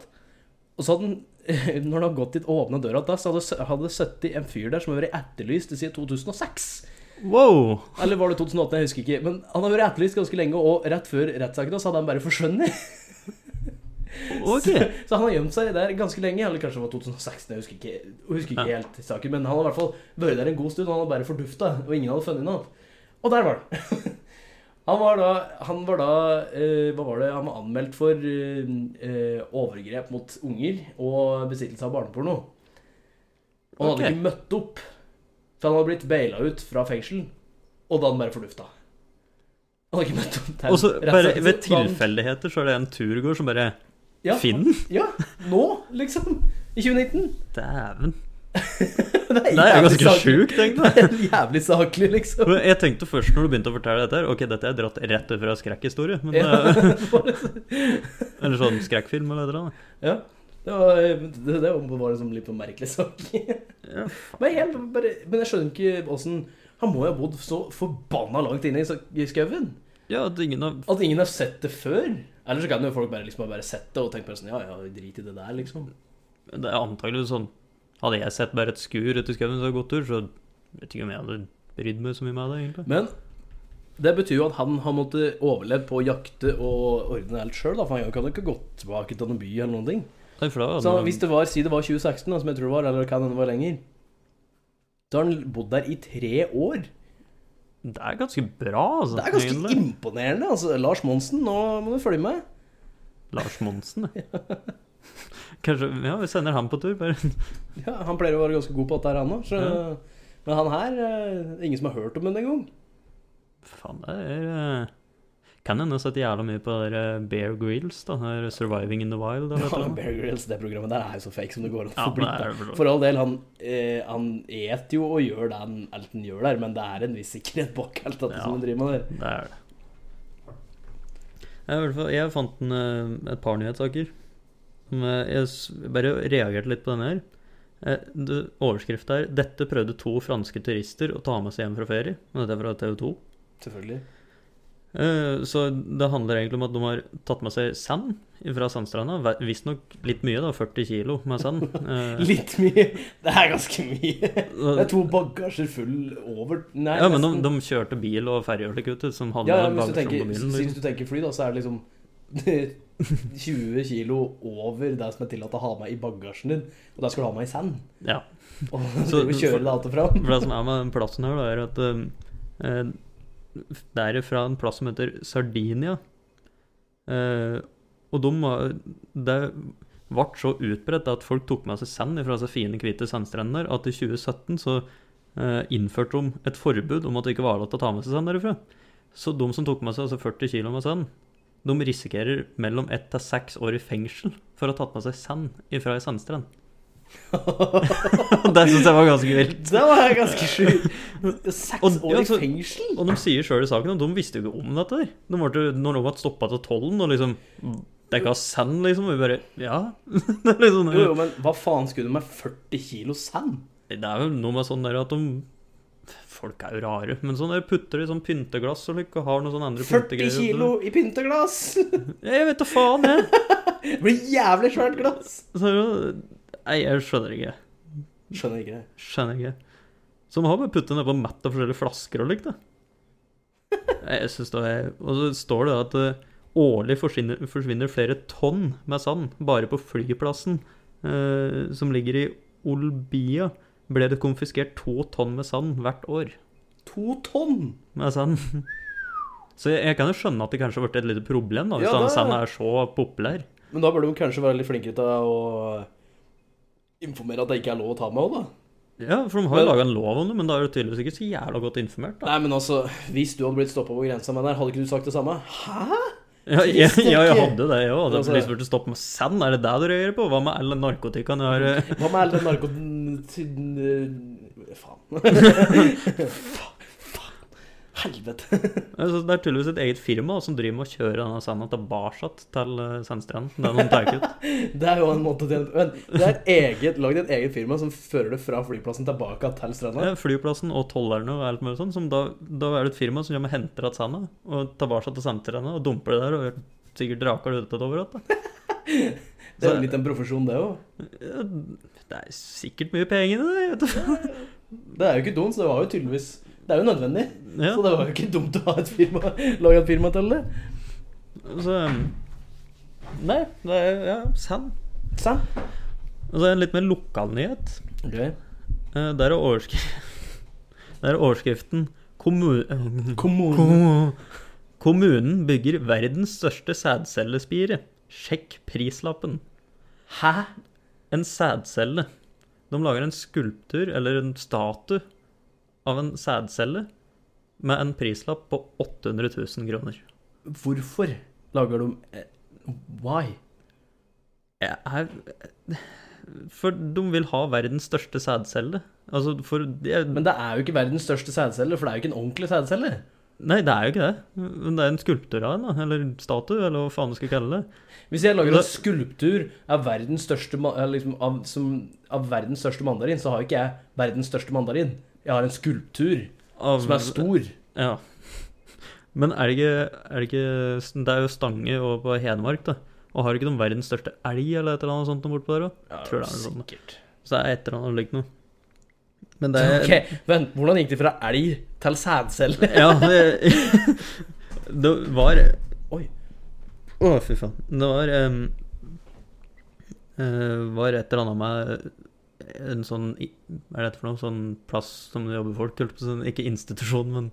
[SPEAKER 1] og så hadde han, når han hadde gått dit og åpna døra, da, så hadde, hadde det sittet en fyr der som hadde vært etterlyst siden 2006.
[SPEAKER 2] Wow!
[SPEAKER 1] Eller var det 2008? Jeg husker ikke. Men han har vært etterlyst ganske lenge, og rett før rettssaken da, så hadde han bare forsvunnet.
[SPEAKER 2] Ok.
[SPEAKER 1] Så han har gjemt seg der ganske lenge. Eller kanskje det var 2016, jeg husker ikke, jeg husker ikke helt saken. Men han har i hvert fall vært der en god stund, og han hadde bare fordufta, og ingen hadde funnet noe. Og der var han. Han var da, han var da eh, Hva var det? Han var anmeldt for eh, eh, overgrep mot unger og besittelse av barneporno. Og han hadde
[SPEAKER 2] Ok.
[SPEAKER 1] ikke møtt opp, for han hadde blitt baila ut fra fengsel. Og da hadde han bare fordufta. Han hadde ikke møtt opp. til
[SPEAKER 2] Og så bare
[SPEAKER 1] rettssaken, så
[SPEAKER 2] ved
[SPEAKER 1] da hadde han-
[SPEAKER 2] tilfeldigheter så er det en turgåer som bare
[SPEAKER 1] Ja.
[SPEAKER 2] Finn den?
[SPEAKER 1] Ja, nå, liksom. I 2019.
[SPEAKER 2] Dæven.
[SPEAKER 1] Det
[SPEAKER 2] Det er
[SPEAKER 1] jævlig
[SPEAKER 2] ganske
[SPEAKER 1] saklig.
[SPEAKER 2] sjukt, egentlig.
[SPEAKER 1] Det er Jævlig saklig, liksom.
[SPEAKER 2] Men Jeg tenkte først når du begynte å fortelle dette her Ok, dette er dratt rett ut fra skrekkhistorie. Men
[SPEAKER 1] Ja.
[SPEAKER 2] eh, Eller sånn skrekkfilm eller noe.
[SPEAKER 1] ja. Det var, eh, det, det var liksom litt på merkelig sak.
[SPEAKER 2] Ja.
[SPEAKER 1] Men, helt, bare, men jeg skjønner ikke åssen Han må jo ha bodd så forbanna langt inne i sak- i skauen.
[SPEAKER 2] ja, at ingen har
[SPEAKER 1] At ingen har sett det før. Eller så kan jo folk bare, liksom, bare sett det og tenke på det sånn Ja, ja, drit i det der, liksom.
[SPEAKER 2] Det er antakeligvis sånn Hadde jeg sett bare et skur ute i skauen som hadde gått tur, så vet ikke om jeg hadde brydd meg så mye med det, egentlig.
[SPEAKER 1] Men det betyr jo at han har måttet overleve på å jakte og ordne alt sjøl. For han kan jo ikke gå tilbake til noen by eller noen ting.
[SPEAKER 2] Nei, for da
[SPEAKER 1] Så
[SPEAKER 2] hadde
[SPEAKER 1] hvis det var, si det var 2016, da, som jeg tror det var, eller kan hende det var lenger Da har han bodd der i tre år.
[SPEAKER 2] Det er ganske bra, altså.
[SPEAKER 1] Det er ganske
[SPEAKER 2] egentlig.
[SPEAKER 1] imponerende. altså. Lars Monsen, nå må du følge med.
[SPEAKER 2] Lars Monsen, ja. Kanskje Ja, vi sender ham på tur, bare.
[SPEAKER 1] Ja, han pleier å være ganske god på dette, her, han òg.
[SPEAKER 2] Ja.
[SPEAKER 1] Men han her eh, Ingen som har hørt om ham engang.
[SPEAKER 2] Faen, det er eh, Kan hende jeg har sett jævla mye på det der eh, Bear Grills, da. det der Surviving in the Wild. Eller,
[SPEAKER 1] Ja,
[SPEAKER 2] ja,
[SPEAKER 1] Bear Grylls, det programmet der er jo så fake som det går an å få
[SPEAKER 2] ja, det
[SPEAKER 1] blitt. da.
[SPEAKER 2] er vel
[SPEAKER 1] For all del, han, eh, han et jo og gjør det han, alt han gjør der, men det er en viss sikkerhet bak alt dette
[SPEAKER 2] Ja.
[SPEAKER 1] som han driver med der.
[SPEAKER 2] Det er det. Jeg, i hvert fall, jeg fant en, eh, et par nyhetssaker. som, eh, Jeg s- bare reagerte litt på denne her. Overskrifta er 'Dette prøvde to franske turister å ta med seg hjem fra ferie'. Og Dette er fra TV 2.
[SPEAKER 1] Selvfølgelig.
[SPEAKER 2] Eh, Så det handler egentlig om at de har tatt med seg sand fra sandstranda. Visstnok litt mye, da. 40 kilo med sand. Eh,
[SPEAKER 1] Litt mye. Det er ganske mye. Det
[SPEAKER 2] og-
[SPEAKER 1] er to bagasjer full over Nei,
[SPEAKER 2] Ja, men de,
[SPEAKER 1] nesten.
[SPEAKER 2] de kjørte bil og ferje, slik ut, som hadde
[SPEAKER 1] ja, ja, men hvis, du
[SPEAKER 2] bagasje
[SPEAKER 1] tenker,
[SPEAKER 2] på bilen.
[SPEAKER 1] hvis
[SPEAKER 2] Liksom.
[SPEAKER 1] du tenker fly, da, så er det liksom 20 kilo over det som er tillatt å ha med i bagasjen din. Og der skal du ha med i sand.
[SPEAKER 2] Ja.
[SPEAKER 1] Og drive
[SPEAKER 2] Så-
[SPEAKER 1] og kjøre det alt og fram.
[SPEAKER 2] For det som er med den plassen her, da, er at eh, eh, det er fra en plass som heter Sardinia. Eh, og de, var- det ble så utbredt at folk tok med seg sand fra disse fine, hvite sandstrendene der, at i 2017 så eh, innførte de et forbud om at det ikke var lov til å ta med seg sand derifra. Så de som tok med seg altså 40 kg med sand, de risikerer mellom ett til seks år i fengsel for å ha tatt med seg sand fra ei sandstrand. Og det syns jeg var ganske vilt.
[SPEAKER 1] Det var ganske sjukt. Seks
[SPEAKER 2] Og-
[SPEAKER 1] år
[SPEAKER 2] ja,
[SPEAKER 1] i
[SPEAKER 2] så-
[SPEAKER 1] fengsel?
[SPEAKER 2] Og de sier sjøl i saken at de visste jo ikke om dette. der. De ble, når de ble stoppa til tollen og liksom Det er ikke av sand, liksom. Og vi bare Ja. det, er liksom,
[SPEAKER 1] Jo, jo, men hva faen skulle du med 40 kilo sand?
[SPEAKER 2] det er jo noe med sånn der at de Folk er jo rare. Men sånn der putter de i sånn pynteglass og like, og har noen sånne andre
[SPEAKER 1] 40 kilo i pynteglass!
[SPEAKER 2] Ja, Jeg vet da faen, jeg.
[SPEAKER 1] Det blir jævlig svært glass!
[SPEAKER 2] Så, er det- nei, jeg skjønner ikke.
[SPEAKER 1] Skjønner ikke det.
[SPEAKER 2] Skjønner ikke. Så de har bare puttet ned på en matt av forskjellige flasker og likt, da. Jeg synes det er, og så står det at eh, årlig forsvinner, forsvinner flere tonn med sand bare på flyplassen eh, som ligger i Olbia. Ble det konfiskert to tonn med sand hvert år
[SPEAKER 1] To tonn!
[SPEAKER 2] med sand. Så jeg, jeg kan jo skjønne at det kanskje har vært et lite problem da, hvis
[SPEAKER 1] Ja,
[SPEAKER 2] den
[SPEAKER 1] det-
[SPEAKER 2] sanden er så populær.
[SPEAKER 1] Men da burde de kanskje være litt flinkere til å informere at det ikke er lov å ta med òg, da.
[SPEAKER 2] Ja, for de har jo laget en lov om det, men da er du tydeligvis ikke så jævla godt informert da.
[SPEAKER 1] Nei, men altså, hvis du hadde blitt stoppa på grensa med den her, hadde ikke du sagt det samme? Hæ?
[SPEAKER 2] Ja, jeg,
[SPEAKER 1] Visste
[SPEAKER 2] ja, jeg
[SPEAKER 1] ikke.
[SPEAKER 2] hadde det, jeg òg.
[SPEAKER 1] Altså-
[SPEAKER 2] Hvis du burde stoppe med sand, er det det du reagerer på? Hva med all narkotikaen du har eh,
[SPEAKER 1] Hva med all den narkoten... Faen. Faen, Faen. Helvete.
[SPEAKER 2] altså, Det er tydeligvis et eget firma da, som driver med å kjøre denne sanda tilbake til eh, sandstranden. Den de tar ut.
[SPEAKER 1] Det er jo en måte å tjene Men det er et eget, lagd et eget firma som fører det fra flyplassen tilbake til stranda.
[SPEAKER 2] Eh, Flyplassen og tollerne og alt mulig sånn. Som da, da er det et firma som kommer og henter igjen sanda og tilbake til sandstranda og dumper det der. og gjør Sikkert draker det ut av det overalt. da.
[SPEAKER 1] Det er jo litt en profesjon, det òg.
[SPEAKER 2] Ja, Det er sikkert mye penger i det. jeg Vet du.
[SPEAKER 1] Det er jo ikke dumt, så det var jo tydeligvis Det er jo nødvendig.
[SPEAKER 2] Ja.
[SPEAKER 1] Så det var jo ikke dumt å ha et firma, lage et firma til det.
[SPEAKER 2] Så, Altså, nei, det er ja, sand.
[SPEAKER 1] Sant?
[SPEAKER 2] Og så er det en litt mer lokalnyhet.
[SPEAKER 1] Okay.
[SPEAKER 2] Eh, Der er, overskri... Der er overskriften Kommu... eh,
[SPEAKER 1] Kommune.
[SPEAKER 2] ko- Kommunen bygger verdens største sædcellespire. Sjekk prislappen.
[SPEAKER 1] Hæ?
[SPEAKER 2] En sædcelle. De lager en skulptur eller en statue av en sædcelle med en prislapp på 800 000 kroner.
[SPEAKER 1] Hvorfor lager de eh, Why?
[SPEAKER 2] jeg er- For de vil ha verdens største sædcelle. Altså, for jeg,
[SPEAKER 1] Men det er jo ikke verdens største sædcelle, for det er jo ikke en ordentlig sædcelle.
[SPEAKER 2] Nei, det er jo ikke det. Men det er en skulptur av en, da. Eller statue, eller hva faen du skal kalle det.
[SPEAKER 1] Hvis jeg lager
[SPEAKER 2] Da-
[SPEAKER 1] en skulptur av verdens største, ma- eh, liksom, av, som, av verdens største mandarin, så har jo ikke jeg verdens største mandarin. Jeg har en skulptur
[SPEAKER 2] Av-
[SPEAKER 1] som er stor.
[SPEAKER 2] Ja. Men er det ikke, er det ikke Det er jo Stange og på Hedmark, da. Og har ikke de verdens største elg eller et eller annet sånt noe bortpå der òg?
[SPEAKER 1] Ja,
[SPEAKER 2] Tror det er noe sånt.
[SPEAKER 1] sikkert.
[SPEAKER 2] Så det er et eller annet likt noe. Men det er
[SPEAKER 1] Eh, Ok, vent, hvordan gikk det fra elg til sædcelle?
[SPEAKER 2] Ja, det, det var
[SPEAKER 1] Oi.
[SPEAKER 2] Å, fy faen. Det var um, eh, var et eller annet med en sånn i- Hva er dette for noe? Sånn plass som det jobber folk? holdt på å si. Ikke institusjon, men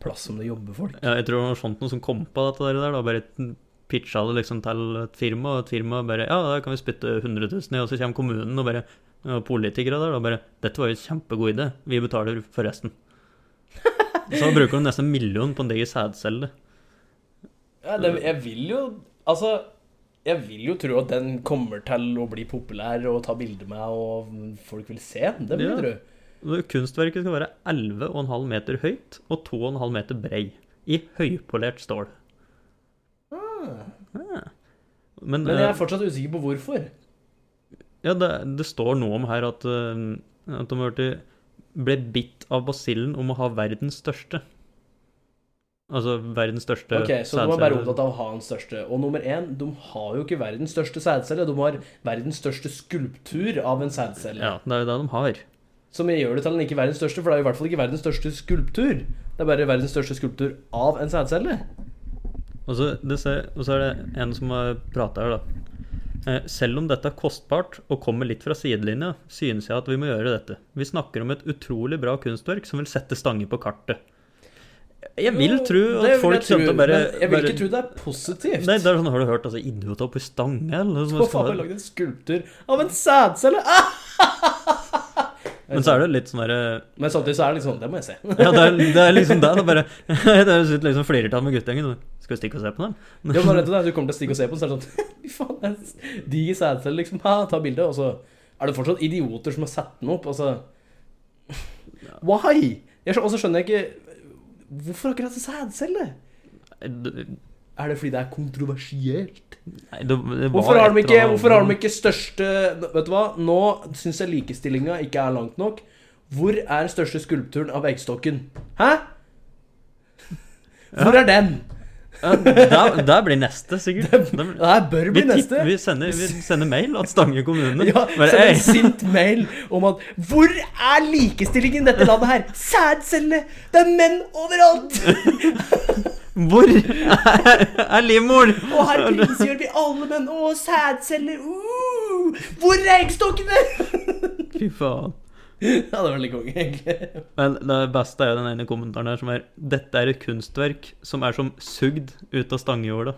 [SPEAKER 1] Plass som det jobber folk.
[SPEAKER 2] ja, jeg tror det var sånt noe som kom på dette der. da, Bare pitcha det liksom til et firma, og et firma bare Ja, da kan vi spytte 100 000 i, og så kommer kommunen og bare og Politikere der da bare Dette var jo en kjempegod idé. Vi betaler for resten. Så bruker de nesten en million på en diger sædcelle.
[SPEAKER 1] Ja, det, jeg vil jo Altså, jeg vil jo tro at den kommer til å bli populær og ta bilder med, og folk vil se den. Det vil jeg
[SPEAKER 2] Ja.
[SPEAKER 1] tro.
[SPEAKER 2] Og Kunstverket skal være 11,5 meter høyt og 2,5 meter brei. I høypolert stål. Ja. Men,
[SPEAKER 1] Ah. Men jeg
[SPEAKER 2] eh,
[SPEAKER 1] er fortsatt usikker på hvorfor.
[SPEAKER 2] Ja, det, det står noe om her at, eh, at de hørte, ble bitt av basillen om å ha verdens største. Altså verdens største
[SPEAKER 1] Ok, Så de er bare
[SPEAKER 2] sædceller.
[SPEAKER 1] opptatt av å ha den største. Og nummer én, de har jo ikke verdens største sædcelle. De har verdens største skulptur av en sædcelle.
[SPEAKER 2] Ja, det er jo det de har.
[SPEAKER 1] Som gjør det til den ikke verdens største, for det er jo i hvert fall ikke verdens største skulptur. Det er bare verdens største skulptur av en sædcelle.
[SPEAKER 2] Og så, det ser, og så er det en som har prata her, da. Eh, Selv om dette er kostbart og kommer litt fra sidelinja, synes jeg at vi må gjøre dette. Vi snakker om et utrolig bra kunstverk som vil sette Stange på kartet. Jeg vil
[SPEAKER 1] Jo,
[SPEAKER 2] tro
[SPEAKER 1] det
[SPEAKER 2] at
[SPEAKER 1] vil
[SPEAKER 2] folk
[SPEAKER 1] jeg
[SPEAKER 2] kommer til
[SPEAKER 1] tro,
[SPEAKER 2] å bare
[SPEAKER 1] men Jeg vil
[SPEAKER 2] bare-
[SPEAKER 1] ikke tro det er positivt.
[SPEAKER 2] Nei, det er sånn, har du hørt altså, idiot oppe i Stange? Eller, noe sånt?
[SPEAKER 1] Hva faen har lagd en skulptur av en sædcelle? Ah!
[SPEAKER 2] Men så er det litt sånn derre
[SPEAKER 1] Men samtidig så er det litt sånn, det må jeg se.
[SPEAKER 2] Ja, det er, det er liksom det. da Bare, det er sitter liksom flirer til han med guttegjengen. og, Skal vi stikke og se på dem?
[SPEAKER 1] Det er bare rett og slett, Du kommer til å stikke og se på den, så er det sånn Fy faen, det er en diger sædcelle, liksom. Ha, ta bilde. Og så er det fortsatt idioter som har satt den opp. Altså Why? Jeg skjø- Og så skjønner jeg ikke Hvorfor akkurat en sædcelle?
[SPEAKER 2] Nei,
[SPEAKER 1] Er det fordi det er kontroversielt?
[SPEAKER 2] det, det var
[SPEAKER 1] Hvorfor har, de
[SPEAKER 2] et
[SPEAKER 1] ikke,
[SPEAKER 2] eller annet-
[SPEAKER 1] hvorfor har de ikke største Vet du hva, nå syns jeg likestillinga ikke er langt nok. Hvor er den største skulpturen av eggstokken? Hæ? Hvor er den?
[SPEAKER 2] Ja, der, der blir neste, sikkert. Det blir-
[SPEAKER 1] Det her bør
[SPEAKER 2] vi,
[SPEAKER 1] bli
[SPEAKER 2] tipp,
[SPEAKER 1] neste.
[SPEAKER 2] vi, sender, vi sender mail at Stange kommune
[SPEAKER 1] Ja,
[SPEAKER 2] bare,
[SPEAKER 1] Send
[SPEAKER 2] «Ei,
[SPEAKER 1] en sint mail om at Hvor er likestillingen i dette landet her? Sædcelle! Det er menn overalt!
[SPEAKER 2] Hvor er, er livmoren?
[SPEAKER 1] Og her prinsgjør vi alle menn! Å, sædceller! Uh, hvor er eggstokkene?
[SPEAKER 2] Fy faen.
[SPEAKER 1] Ja, det var veldig konge, egentlig.
[SPEAKER 2] Men det beste er jo den ene kommentaren her som er Dette er et kunstverk som er som sugd ut av stangejorda.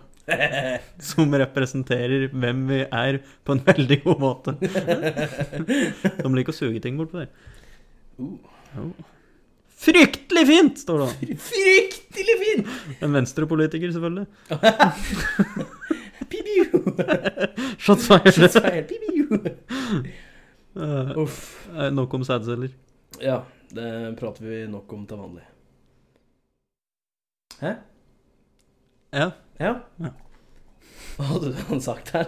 [SPEAKER 2] Som representerer hvem vi er på en veldig god måte. De liker å suge ting bortpå der.
[SPEAKER 1] Uh.
[SPEAKER 2] Jo. Fryktelig fint, står det.
[SPEAKER 1] Fryktelig fint!
[SPEAKER 2] da. En venstrepolitiker, selvfølgelig.
[SPEAKER 1] Piu-piu!
[SPEAKER 2] Shots fired.
[SPEAKER 1] Feil, piu-piu.
[SPEAKER 2] Eh,
[SPEAKER 1] Uff.
[SPEAKER 2] eh, Nok om sædceller.
[SPEAKER 1] Ja, det prater vi nok om til vanlig.
[SPEAKER 2] Ja.
[SPEAKER 1] Ja?
[SPEAKER 2] Ja.
[SPEAKER 1] Hva hadde han sagt her?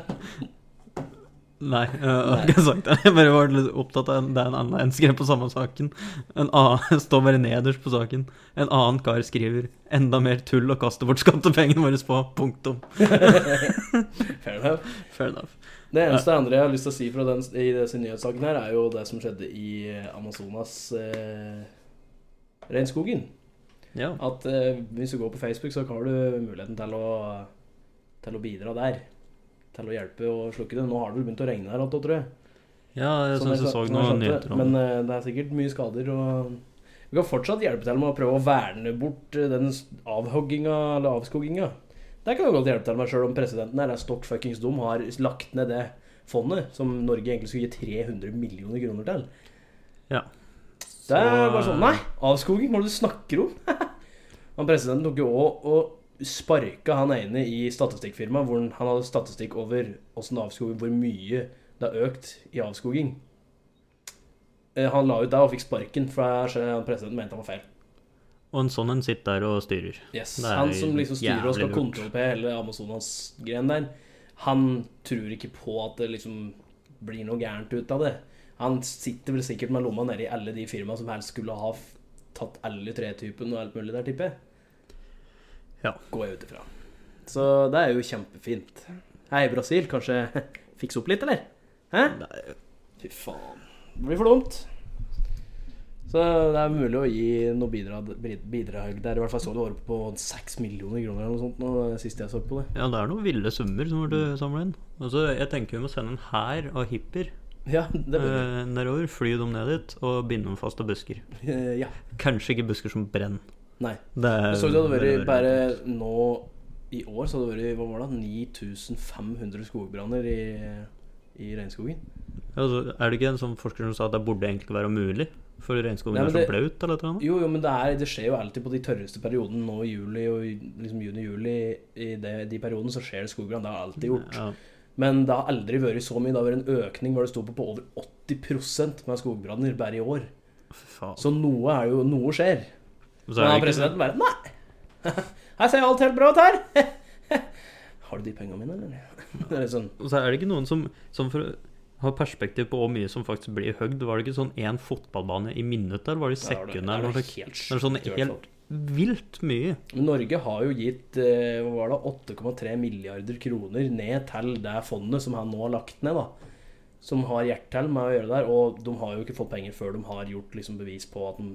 [SPEAKER 2] Nei, eh, jeg har ikke sagt det. Jeg bare var litt opptatt av en- det er en annen en skrev på samme saken. En annen står bare nederst på saken. En annen kar skriver 'enda mer tull å kaste bort skattepengene våre på'. Punktum.
[SPEAKER 1] Fair enough.
[SPEAKER 2] Fair enough.
[SPEAKER 1] Det eneste andre jeg har lyst til å si fra den, i disse nyhetssakene her, er jo det som skjedde i eh, Amazonas eh, regnskogen.
[SPEAKER 2] Ja.
[SPEAKER 1] At eh, hvis du går på Facebook, så har du muligheten til å, til å bidra der. Til å hjelpe og slukke det. Nå har det vel begynt å regne her, alt, tror jeg.
[SPEAKER 2] ja, jeg
[SPEAKER 1] Sånn
[SPEAKER 2] syns
[SPEAKER 1] jeg sa-
[SPEAKER 2] jeg
[SPEAKER 1] sånn
[SPEAKER 2] så
[SPEAKER 1] jeg
[SPEAKER 2] noen
[SPEAKER 1] skjønte det.
[SPEAKER 2] nyheter om
[SPEAKER 1] Men
[SPEAKER 2] det.
[SPEAKER 1] eh, det er sikkert mye skader. og... Vi kan fortsatt hjelpe til med å prøve å verne bort eh, den s- avhogginga eller avskoginga. Der kan vi godt hjelpe til med, sjøl om presidenten her er stokk fuckings dum, har lagt ned det fondet som Norge egentlig skulle gi 300 millioner kroner til.
[SPEAKER 2] Ja.
[SPEAKER 1] Det er
[SPEAKER 2] Så,
[SPEAKER 1] bare sånn Nei, avskoging, hva er det du snakker om? Men presidenten tok jo òg og sparka han ene i statistikkfirmaet, hvor han han hadde statistikk over hvordan avskoging, hvor mye det har økt i avskoging. Eh, Han la ut der og fikk sparken, for jeg- presidenten mente han var feil.
[SPEAKER 2] Og en sånn en sitter der og styrer.
[SPEAKER 1] Yes,
[SPEAKER 2] Det er
[SPEAKER 1] Han som liksom styrer og
[SPEAKER 2] jævlig
[SPEAKER 1] skal
[SPEAKER 2] lurt.
[SPEAKER 1] kontrollere på hele Amazonas-greien der, han tror ikke på at det liksom blir noe gærent ut av det. Han sitter vel sikkert med lomma nedi alle de firmaene som helst skulle ha f- tatt alle tretypen og alt mulig der, tipper jeg.
[SPEAKER 2] Ja.
[SPEAKER 1] Går jeg ut ifra. Så det er jo kjempefint. Hei, Brasil, kanskje fikse opp litt, eller? Hæ?
[SPEAKER 2] Nei,
[SPEAKER 1] Fy faen. Det blir for dumt. Så det er mulig å gi noe bidrag, bidrag der. I hvert fall så det var oppe på 6 millioner kroner eller noe sånt nå, det siste jeg så på det.
[SPEAKER 2] Ja, det er noen ville summer som burde samle inn. Altså, jeg tenker vi må sende en hær av hippier
[SPEAKER 1] Ja, det blir det.
[SPEAKER 2] eh, nedover. Fly dem ned dit og binde dem fast til busker.
[SPEAKER 1] Eh, Ja.
[SPEAKER 2] Kanskje ikke busker som brenner.
[SPEAKER 1] Nei.
[SPEAKER 2] Eh, Det er
[SPEAKER 1] Jeg så det hadde vært bare nå i år så hadde det vært hva var det, 9500 skogbranner i, i regnskogen.
[SPEAKER 2] altså, Er det ikke en sånn forsker som sa at det burde egentlig ikke være mulig? For regnskogen
[SPEAKER 1] Nei, men
[SPEAKER 2] er så
[SPEAKER 1] det-
[SPEAKER 2] blaut eller et eller annet?
[SPEAKER 1] Jo, jo, men det, er, det skjer jo alltid på de tørreste periodene nå i juli og i- liksom juni-juli. I det, de periodene så skjer det skogbrann. Det har alltid gjort.
[SPEAKER 2] Ja.
[SPEAKER 1] Men det har aldri vært så mye. Det har vært en økning hvor det sto på, på over 80 med skogbranner bare i år.
[SPEAKER 2] Fy faen.
[SPEAKER 1] Så noe er jo Noe skjer.
[SPEAKER 2] Og
[SPEAKER 1] Men
[SPEAKER 2] så er
[SPEAKER 1] da
[SPEAKER 2] det ikke, sånn-
[SPEAKER 1] presidenten bare Nei! Her ser alt helt bra ut her! Har du de pengene mine, eller? Det er litt sånn
[SPEAKER 2] og så er det ikke noen som, som for, har perspektiv på hvor mye som faktisk blir høgd. Var det ikke sånn én fotballbane i minuttet, eller var det i
[SPEAKER 1] Ja, det var det.
[SPEAKER 2] sekundet? eller
[SPEAKER 1] Det
[SPEAKER 2] noe
[SPEAKER 1] var
[SPEAKER 2] slik?
[SPEAKER 1] helt
[SPEAKER 2] Det er sånn
[SPEAKER 1] sjukt, i hvert
[SPEAKER 2] helt vilt mye.
[SPEAKER 1] Men Norge har jo gitt eh, hva var det, 8,3 milliarder kroner ned til det fondet som han nå har lagt ned, da. Som har hjert til med å gjøre det der. Og de har jo ikke fått penger før de har gjort liksom, bevis på at de,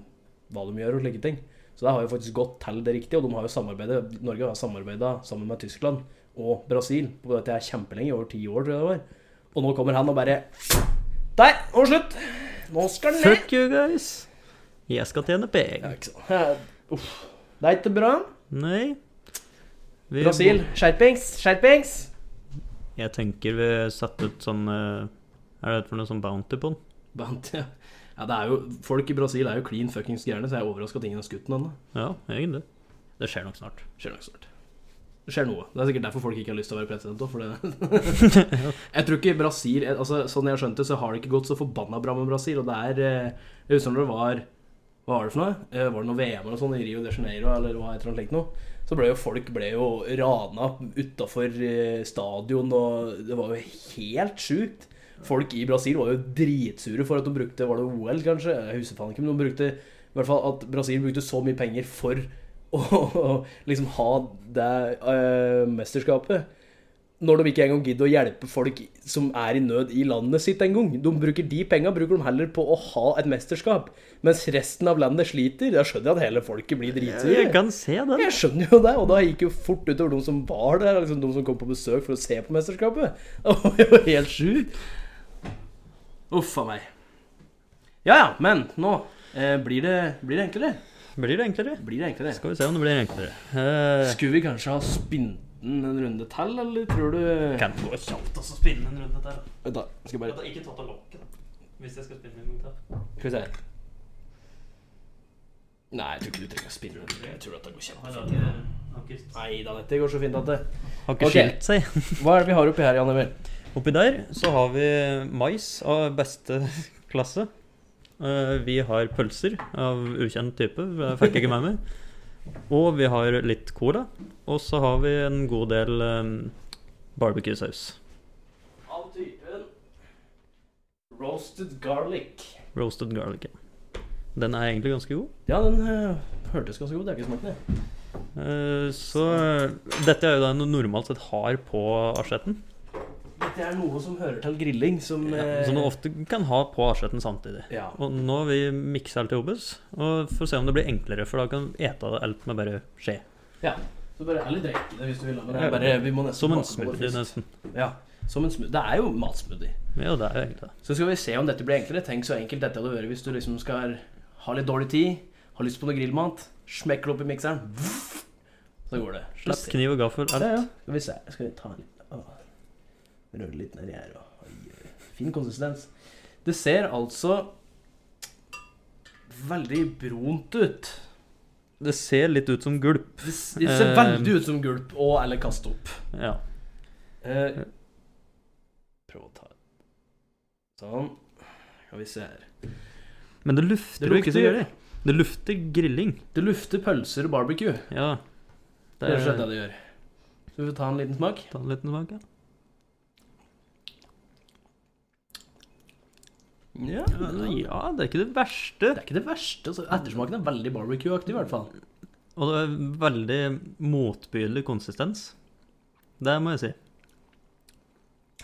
[SPEAKER 1] hva de gjør og slike ting. Så det har jo faktisk gått til det riktige, og de har jo samarbeidet, Norge har samarbeida sammen med Tyskland og Brasil på dette her kjempelenge, i over ti år, tror jeg det var. Og nå kommer han og bare Der! Nå er det slutt! Nå skal den ned!
[SPEAKER 2] Fuck you guys! Jeg skal tjene
[SPEAKER 1] Ja,
[SPEAKER 2] penger.
[SPEAKER 1] ikke sant. Uff. Det er ikke bra.
[SPEAKER 2] Nei. Vi-
[SPEAKER 1] Brasil, skjerpings! Skjerpings!
[SPEAKER 2] Jeg tenker vi setter ut sånn eh, Er det for noe sånn bounty på den?
[SPEAKER 1] Bant, ja. ja det er jo, folk i Brasil er jo klin fuckings gærne, så jeg er overraska at ingen har skutt den ennå.
[SPEAKER 2] Ja, egentlig. Det skjer nok snart.
[SPEAKER 1] Skjer nok snart. Det skjer noe. Det er sikkert derfor folk ikke har lyst til å være president òg, for det Jeg tror ikke Brasil altså, Sånn jeg har skjønt det, så har det ikke gått så forbanna bra med Brasil, og det er eh, Jeg husker når det var Hva var det for noe? Eh, Var det noe VM eller noe sånt i Rio de Janeiro, eller hva heter det slikt noe? Så ble jo folk ble jo rana utafor stadion, og det var jo helt sjukt. Folk i Brasil var jo dritsure for at de brukte Var det OL, kanskje? Jeg husker faen ikke, men de brukte i hvert fall at Brasil brukte så mye penger for å, liksom ha det eh, mesterskapet. Når de ikke engang gidder å hjelpe folk som er i nød i landet sitt engang. De bruker de penga bruker de heller på å ha et mesterskap, mens resten av landet sliter. Da skjønner jeg at hele folket blir dritsure.
[SPEAKER 2] Jeg kan se den.
[SPEAKER 1] Jeg skjønner jo det, og da gikk jo fort utover de som var der, liksom de som kom på besøk for å se på mesterskapet. Det var jo helt sjukt. Uff a meg. Ja ja, men nå eh, blir, det, blir det enklere.
[SPEAKER 2] Blir det enklere?
[SPEAKER 1] Blir det enklere.
[SPEAKER 2] Skal vi se om det blir enklere. Eh,
[SPEAKER 1] Skulle vi kanskje ha spinnet en runde til, eller tror du
[SPEAKER 2] kan gå kjapt og så spinne en runde til.
[SPEAKER 1] Vent da, skal bare
[SPEAKER 2] Ikke tatt av lokket, hvis jeg skal spinne en runde til.
[SPEAKER 1] Skal vi se. Nei, jeg tror ikke du trenger å spinne. en runde. Jeg tror at det går kjempefint.
[SPEAKER 2] Har
[SPEAKER 1] Nei da, dette går så fint at det
[SPEAKER 2] ikke
[SPEAKER 1] Ok.
[SPEAKER 2] skilt seg.
[SPEAKER 1] Hva er det vi har oppi her, Jan Emil?
[SPEAKER 2] Oppi der så har vi mais av beste klasse. Eh, vi har pølser av ukjent type, det fikk jeg ikke med meg. Og vi har litt cola. Og så har vi en god del eh, barbecue-saus.
[SPEAKER 1] Av typen roasted garlic.
[SPEAKER 2] Roasted garlic. ja. Den er egentlig ganske god.
[SPEAKER 1] Ja, den eh, hørtes ganske god ut. Jeg har ikke smakt den. jeg.
[SPEAKER 2] Eh, Så dette er jo det en normalt sett har på asjetten.
[SPEAKER 1] Dette er noe som hører til grilling, som eh,
[SPEAKER 2] Som du ofte kan ha på asjetten samtidig.
[SPEAKER 1] Ja.
[SPEAKER 2] Og nå har vi miksa alt i obes, og får se om det blir enklere, for da kan vi ete alt med bare skje.
[SPEAKER 1] ja. Så bare heller drikke det hvis du vil. Men det er bare, vi må nesten
[SPEAKER 2] Som en
[SPEAKER 1] passe på det
[SPEAKER 2] smoothie,
[SPEAKER 1] først.
[SPEAKER 2] nesten.
[SPEAKER 1] Ja, som en smoothie. Det er jo matsmoothie.
[SPEAKER 2] Ja, det er jo egentlig det.
[SPEAKER 1] Så skal vi se om dette blir enklere. Tenk så enkelt dette hadde vært hvis du liksom skal ha litt dårlig tid, har lyst på noe grillmat, smekker det opp i mikseren, vff, så går det.
[SPEAKER 2] Slapp kniv og gaffel.
[SPEAKER 1] Ja, ja.
[SPEAKER 2] Alt.
[SPEAKER 1] Skal vi se. Skal vi ta en litt Åh. Røre litt nedi her. og- Oi, oi. Fin konsistens. Det ser altså veldig brunt ut.
[SPEAKER 2] Det ser litt ut som gulp.
[SPEAKER 1] Det s- det ser
[SPEAKER 2] Eh,
[SPEAKER 1] veldig ut som gulp og eller kaste opp.
[SPEAKER 2] Ja.
[SPEAKER 1] Eh, prøv å ta Sånn. Skal vi se her.
[SPEAKER 2] Men det lufter
[SPEAKER 1] Det
[SPEAKER 2] jo ikke så
[SPEAKER 1] lukter-
[SPEAKER 2] gøy. Det lufter grilling.
[SPEAKER 1] Det lufter pølser og barbecue.
[SPEAKER 2] Ja.
[SPEAKER 1] Det er rett og slett det det gjør. Skal vi ta en liten smak?
[SPEAKER 2] Ta en liten smak, ja.
[SPEAKER 1] Ja,
[SPEAKER 2] ja, det er ikke det verste.
[SPEAKER 1] Det er ikke det verste. Altså. Ettersmaken er veldig barbecue-aktig, i hvert fall.
[SPEAKER 2] Og det er veldig motbydelig konsistens. Det må jeg si.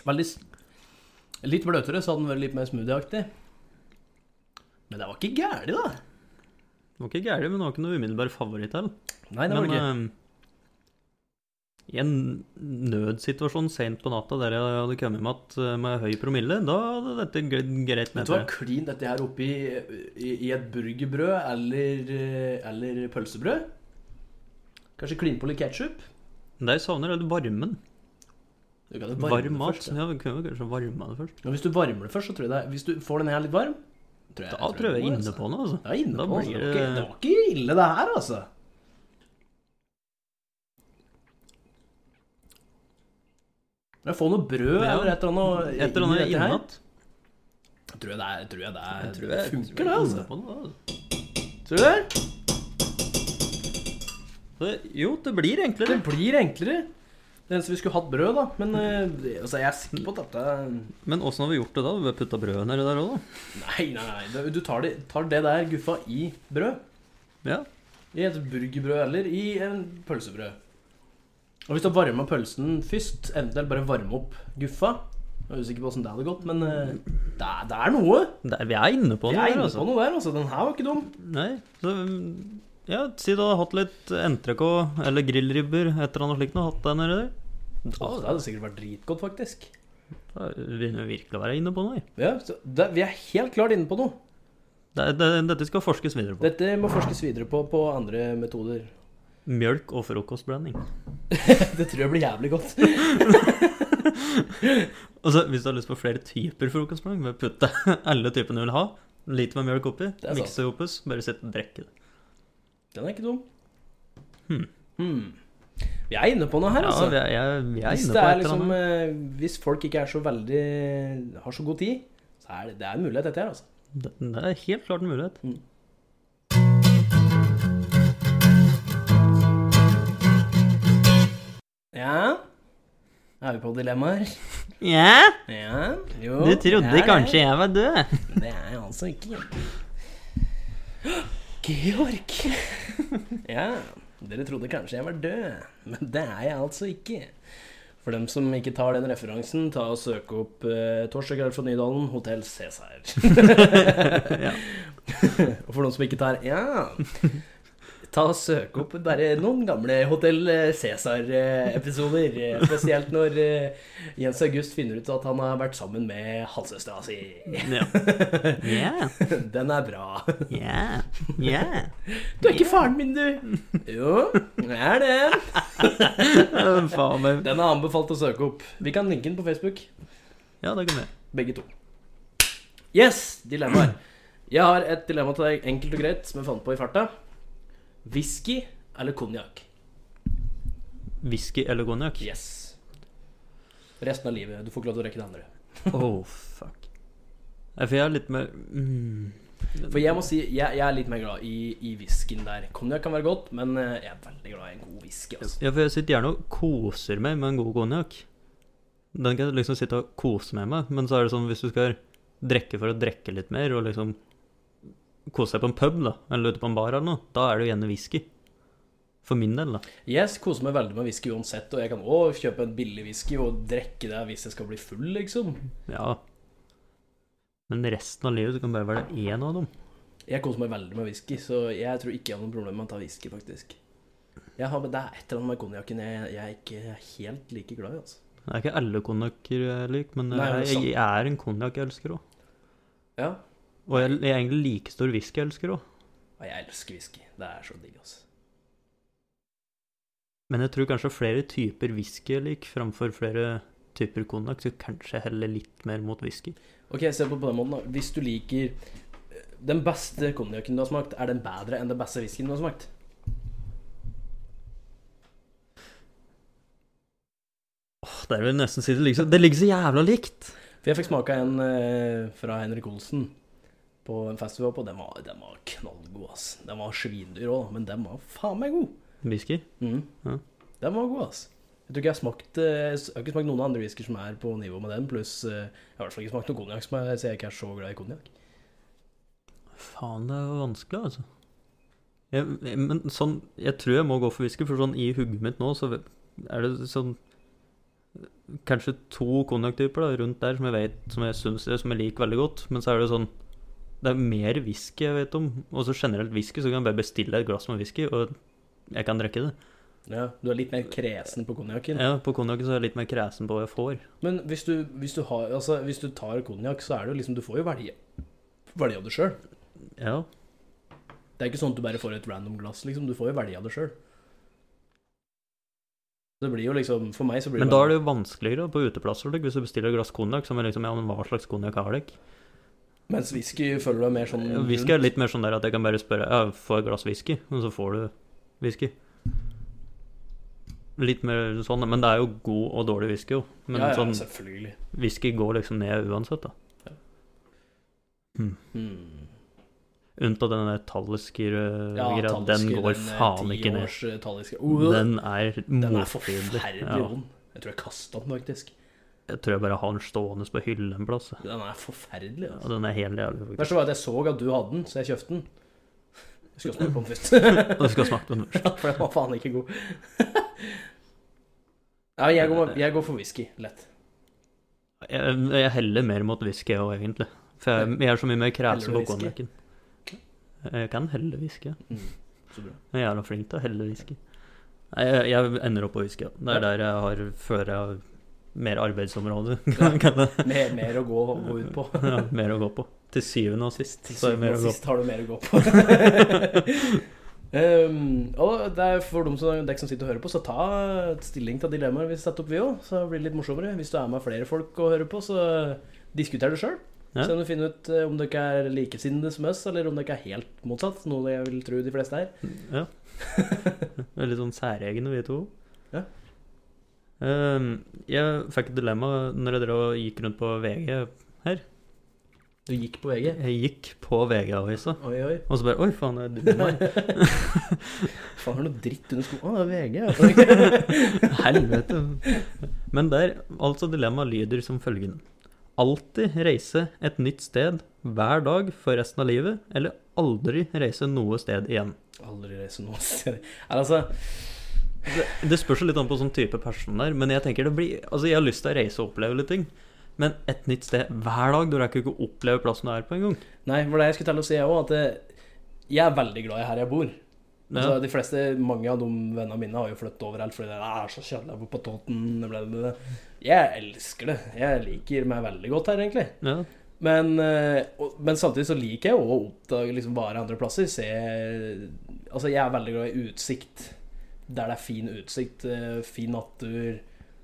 [SPEAKER 1] Veldig s- Litt bløtere, så hadde den vært litt mer smoothieaktig. Men det var ikke gærent, da.
[SPEAKER 2] Det var ikke gærent, men det var ikke noe umiddelbar favoritt heller.
[SPEAKER 1] Nei, det var
[SPEAKER 2] Men
[SPEAKER 1] det ikke.
[SPEAKER 2] eh, i en nødsituasjon seint på natta der jeg hadde kommet med, at, eh, med høy promille, da hadde dette glidd
[SPEAKER 1] Vet
[SPEAKER 2] greit ned.
[SPEAKER 1] du hva,
[SPEAKER 2] tror jeg.
[SPEAKER 1] klin dette her oppi i, i et burgerbrød eller, eh, eller pølsebrød. Kanskje klin på litt ketsjup.
[SPEAKER 2] Det jeg savner, er litt varmen.
[SPEAKER 1] Du kan jo varme det
[SPEAKER 2] Varm mat.
[SPEAKER 1] først, ja.
[SPEAKER 2] Ja, vi kunne jo kanskje varme det først.
[SPEAKER 1] Men hvis du varmer det først, så tror jeg det er- Hvis du får den her litt varm tror
[SPEAKER 2] Da tror jeg vi er inne på noe, altså.
[SPEAKER 1] Ja, inne
[SPEAKER 2] Da
[SPEAKER 1] på. altså. Det
[SPEAKER 2] blir
[SPEAKER 1] var ikke-
[SPEAKER 2] det-
[SPEAKER 1] det var ikke ille, det her, altså. Men få noe brød
[SPEAKER 2] Ja.
[SPEAKER 1] eller et eller annet
[SPEAKER 2] Et eller annet
[SPEAKER 1] inn i dette her.
[SPEAKER 2] innat.
[SPEAKER 1] Tror jeg det, er, tror jeg det, er,
[SPEAKER 2] Jeg tror jeg-
[SPEAKER 1] funker,
[SPEAKER 2] tror jeg
[SPEAKER 1] det,
[SPEAKER 2] er
[SPEAKER 1] altså.
[SPEAKER 2] inne på noe, altså.
[SPEAKER 1] Tror du det?
[SPEAKER 2] Det- Jo, det blir enklere.
[SPEAKER 1] Det blir enklere. Det eneste vi skulle hatt brød, da. Men eh, det- altså, jeg er sikker på at dette
[SPEAKER 2] Men åssen har vi gjort det da? Vi har putta brødet nedi der òg, da.
[SPEAKER 1] Nei, nei, nei. det- Du tar det, tar det der guffa i brød.
[SPEAKER 2] Ja.
[SPEAKER 1] I et burgerbrød eller i en pølsebrød. Og hvis du har varma pølsen først, eventuelt bare varme opp guffa Jeg er usikker på åssen det hadde gått, men eh, det er, det er noe.
[SPEAKER 2] Der, vi er inne på
[SPEAKER 1] Vi
[SPEAKER 2] det.
[SPEAKER 1] er
[SPEAKER 2] der,
[SPEAKER 1] inne
[SPEAKER 2] altså.
[SPEAKER 1] på noe der, altså. Den her var ikke dum.
[SPEAKER 2] Nei, så mm, ja, si du hadde hatt litt entrecôte eller grillribber, et eller annet slikt, og hatt det nedi der.
[SPEAKER 1] Å, det hadde sikkert vært dritgodt, faktisk.
[SPEAKER 2] Da begynner vi virkelig å være inne på noe. jeg.
[SPEAKER 1] Ja, så det, Vi er helt klart inne på noe.
[SPEAKER 2] Det, det, dette skal forskes videre på.
[SPEAKER 1] Dette må forskes videre på på andre metoder.
[SPEAKER 2] Mjølk og frokostblanding.
[SPEAKER 1] Det tror jeg blir jævlig godt.
[SPEAKER 2] Altså, hvis du har lyst på flere typer frokostblanding, bare putte alle typene du vil ha, litt med mjølk oppi,
[SPEAKER 1] er sant.
[SPEAKER 2] mikse det opp, bare sitte og drikke det.
[SPEAKER 1] Den er ikke dum.
[SPEAKER 2] Hmm.
[SPEAKER 1] Hmm. Vi er inne på noe her,
[SPEAKER 2] Ja,
[SPEAKER 1] altså.
[SPEAKER 2] vi er, jeg, vi er
[SPEAKER 1] Hvis,
[SPEAKER 2] inne
[SPEAKER 1] det
[SPEAKER 2] på
[SPEAKER 1] er
[SPEAKER 2] et eller
[SPEAKER 1] liksom,
[SPEAKER 2] annet.
[SPEAKER 1] eh, hvis folk ikke er så veldig har så god tid, så er det, det er en mulighet, dette her. altså.
[SPEAKER 2] Det, det er helt klart en mulighet.
[SPEAKER 1] Ja. Er vi på dilemmaer?
[SPEAKER 2] Ja,
[SPEAKER 1] Ja. Jo.
[SPEAKER 2] du trodde
[SPEAKER 1] det er
[SPEAKER 2] kanskje jeg var død.
[SPEAKER 1] Det. Det er jeg altså ikke. Georg. Ja. Dere trodde kanskje jeg var død, men det er jeg altså ikke. For dem som ikke tar den referansen, ta og søk opp eh, 'Torsdag kveld fra Nydalen', Hotell Cæsar.
[SPEAKER 2] Ja.
[SPEAKER 1] Og for noen som ikke tar Ja. Ta og Søk opp bare noen gamle Hotell Cæsar-episoder. eh, Spesielt når eh, Jens August finner ut at han har vært sammen med halvsøstera si.
[SPEAKER 2] Ja. Ja.
[SPEAKER 1] Den er bra.
[SPEAKER 2] Ja. Ja.
[SPEAKER 1] Du er ikke faren min, du! Jo, jeg er det.
[SPEAKER 2] Ja, Faen meg.
[SPEAKER 1] Den er anbefalt å søke opp. Vi kan linke den på Facebook,
[SPEAKER 2] Ja, det kan vi.
[SPEAKER 1] begge to. Yes, dilemmaer. Jeg har et dilemma til deg, enkelt og greit, som jeg fant på i farta. Whisky eller konjakk?
[SPEAKER 2] Whisky eller konjakk?
[SPEAKER 1] Yes. Resten av livet. Du får ikke lov til å røyke det andre.
[SPEAKER 2] Oh, fuck. Nei, for jeg er litt mer mm.
[SPEAKER 1] For jeg må si, jeg, jeg er litt mer glad i, i whiskyen der. Konjakk kan være godt, men eh, jeg er veldig glad i en god whisky. Altså.
[SPEAKER 2] Ja, for jeg sitter gjerne og koser meg med en god konjakk. Den kan jeg liksom sitte og kose meg med, men så er det sånn hvis du skal drikke for å drikke litt mer, og liksom kose deg på en pub, da, eller ute på en bar eller noe, da er det jo gjerne whisky. For min del, da.
[SPEAKER 1] Jeg koser meg veldig med whisky uansett, og jeg kan òg kjøpe en billig whisky og drikke det hvis jeg skal bli full, liksom.
[SPEAKER 2] Ja. Men resten av livet så kan det bare være én av dem.
[SPEAKER 1] Jeg koser meg veldig med whisky, så jeg tror ikke jeg har noe problem med å ta whisky, faktisk. Jeg har, men det er et eller annet med konjakken jeg, jeg er ikke helt like glad i, altså.
[SPEAKER 2] Det er ikke alle konjakker jeg liker, men
[SPEAKER 1] Nei, men
[SPEAKER 2] jeg, jeg er en konjakkelsker òg.
[SPEAKER 1] Ja.
[SPEAKER 2] Og jeg, jeg er egentlig like stor whiskyelsker òg.
[SPEAKER 1] Og jeg elsker whisky. Det er så digg, altså.
[SPEAKER 2] Men jeg tror kanskje flere typer whisky jeg liker framfor flere typer konjakk. Så kanskje jeg heller litt mer mot whisky.
[SPEAKER 1] Ok, se på på den måten da Hvis eh, du liker Den beste konjakken du har smakt Er den bedre enn den beste whiskyen du har smakt?
[SPEAKER 2] Det er vel nesten si det ligger så, det ligger så jævla likt.
[SPEAKER 1] For jeg fikk smake en eh, fra Henrik Olsen på en fest vi var på. Den var, den var knallgod, ass. Den var svindyr òg, men den var faen meg god.
[SPEAKER 2] Whisky.
[SPEAKER 1] Mm.
[SPEAKER 2] Ja.
[SPEAKER 1] Den var god, ass. Jeg tror ikke jeg har smakt eh, Jeg har ikke smakt noen andre whisky som er på nivå med den, pluss eh, Jeg har i hvert fall ikke smakt noen konjakk, som jeg- så jeg ikke er så glad i konjakk.
[SPEAKER 2] Faen, det er jo vanskelig, altså. Jeg, jeg- men sånn, jeg tror jeg må gå for whisky, for sånn i hugget mitt nå, så er det sånn Kanskje to konjakktyper da, rundt der som jeg vet, som jeg synes, som jeg liker veldig godt. Men så er det sånn Det er mer whisky jeg vet om. Og så generelt whisky, så kan jeg bare bestille et glass med whisky, og jeg kan drikke det.
[SPEAKER 1] Ja, du er litt mer kresen på konjakken.
[SPEAKER 2] Ja, på konjakken så er jeg litt mer kresen på hva jeg får.
[SPEAKER 1] Men hvis du, hvis du, har, altså, hvis du tar konjakk, så er det jo liksom Du får jo velge, velge av det sjøl.
[SPEAKER 2] Ja.
[SPEAKER 1] Det er ikke sånn at du bare får et random glass, liksom. Du får jo velge av det sjøl. Det blir jo liksom For meg så blir
[SPEAKER 2] Men da er det jo vanskeligere på uteplasser, liksom, hvis du bestiller et glass konjakk, så er man liksom Ja, men hva slags konjakk har dere?
[SPEAKER 1] Mens whisky føler du deg mer sånn
[SPEAKER 2] Ja, Whisky er litt mer sånn der at jeg kan bare spørre Ja, få et glass whisky, og så får du whisky. Litt mer sånn, men det er jo god og dårlig whisky, jo. Men
[SPEAKER 1] ja, ja,
[SPEAKER 2] sånn,
[SPEAKER 1] selvfølgelig.
[SPEAKER 2] whisky går liksom ned uansett, da.
[SPEAKER 1] Hmm.
[SPEAKER 2] Unntatt den der
[SPEAKER 1] Ja,
[SPEAKER 2] tallisker-greia. den
[SPEAKER 1] Talisker,
[SPEAKER 2] går
[SPEAKER 1] eh,
[SPEAKER 2] faen ikke ned.
[SPEAKER 1] tiårs, eh, Talisker. Uh, den,
[SPEAKER 2] Den er
[SPEAKER 1] er
[SPEAKER 2] motbydelig.
[SPEAKER 1] forferdelig
[SPEAKER 2] Ja,
[SPEAKER 1] vond. Jeg tror jeg kasta den, faktisk.
[SPEAKER 2] jeg tror jeg bare har den stående på hylla en plass. jeg.
[SPEAKER 1] Den er forferdelig.
[SPEAKER 2] Ja,
[SPEAKER 1] Altså.
[SPEAKER 2] den er helt jævlig. faktisk.
[SPEAKER 1] Verst var at jeg så at du hadde den, så jeg kjøpte den. Jeg skal smake på den først.
[SPEAKER 2] Og du skal snakke om den.
[SPEAKER 1] Ja, for den var faen ikke god. ja, jeg går, jeg går for whisky. Lett.
[SPEAKER 2] Jeg, jeg heller mer mot whisky òg, egentlig. For jeg, jeg er så mye mer
[SPEAKER 1] Heller
[SPEAKER 2] kresen på
[SPEAKER 1] du whisky?
[SPEAKER 2] konjakken. Jeg kan helle whisky. ja.
[SPEAKER 1] Mm. Så bra.
[SPEAKER 2] Jeg er jævla flink til å helle whisky. Nei, jeg, jeg ender opp på whisky. ja. Det
[SPEAKER 1] Ja.
[SPEAKER 2] er der jeg har før jeg har mer arbeidsområde, kan kan jeg
[SPEAKER 1] Mer, mer å gå, gå ut på.
[SPEAKER 2] ja, Mer å gå på. Til syvende og sist.
[SPEAKER 1] Til
[SPEAKER 2] så er det
[SPEAKER 1] syvende
[SPEAKER 2] mer
[SPEAKER 1] og
[SPEAKER 2] å gå på.
[SPEAKER 1] sist har du mer å gå på. um, og det er for dem som, dere som sitter og hører på, så ta stilling til dilemmaer vi setter opp, vi òg. Så blir det litt morsommere. Hvis du er med flere folk og hører på, så diskuter det sjøl.
[SPEAKER 2] Ja.
[SPEAKER 1] Se om du finner ut eh, om dere er likesinnede som oss, eller om dere er helt motsatt. Noe jeg vil tro de fleste er.
[SPEAKER 2] Ja. Veldig sånn særegne, vi to.
[SPEAKER 1] Ja.
[SPEAKER 2] Ehm, jeg fikk et dilemma når jeg drev og gikk rundt på VG.
[SPEAKER 1] Du gikk på VG.
[SPEAKER 2] Jeg gikk på VG-avisa,
[SPEAKER 1] Oi, oi.
[SPEAKER 2] og så bare Oi, faen, jeg dummer meg.
[SPEAKER 1] Faen, har du noe dritt under skoen? Å, det er VG. ja.
[SPEAKER 2] Helvete. Men der, altså dilemmaet lyder som følgende. Alltid reise et nytt sted hver dag for resten av livet, eller aldri reise noe sted igjen.
[SPEAKER 1] Aldri reise noe sted. Nei, Altså,
[SPEAKER 2] Det, det spørs jo litt an på sånn type person der, men jeg tenker det blir Altså, jeg har lyst til å reise og oppleve litt ting, men et nytt sted hver dag, du rekker jo ikke å oppleve plassen du er på engang.
[SPEAKER 1] nei, for det jeg skulle til å si òg, at eh, jeg er veldig glad i her jeg bor. Altså,
[SPEAKER 2] Ja.
[SPEAKER 1] de fleste, mange av de vennene mine har jo flyttet overalt fordi det er "Ah, så kjedelig å bo på Toten. Bla, bla, bla. Jeg elsker det. Jeg liker meg veldig godt her, egentlig.
[SPEAKER 2] Ja.
[SPEAKER 1] Men, eh, og, men samtidig så liker jeg å oppdage liksom bare andre plasser. Se Altså, jeg er veldig glad i utsikt. Der det er fin utsikt, eh, fin natur,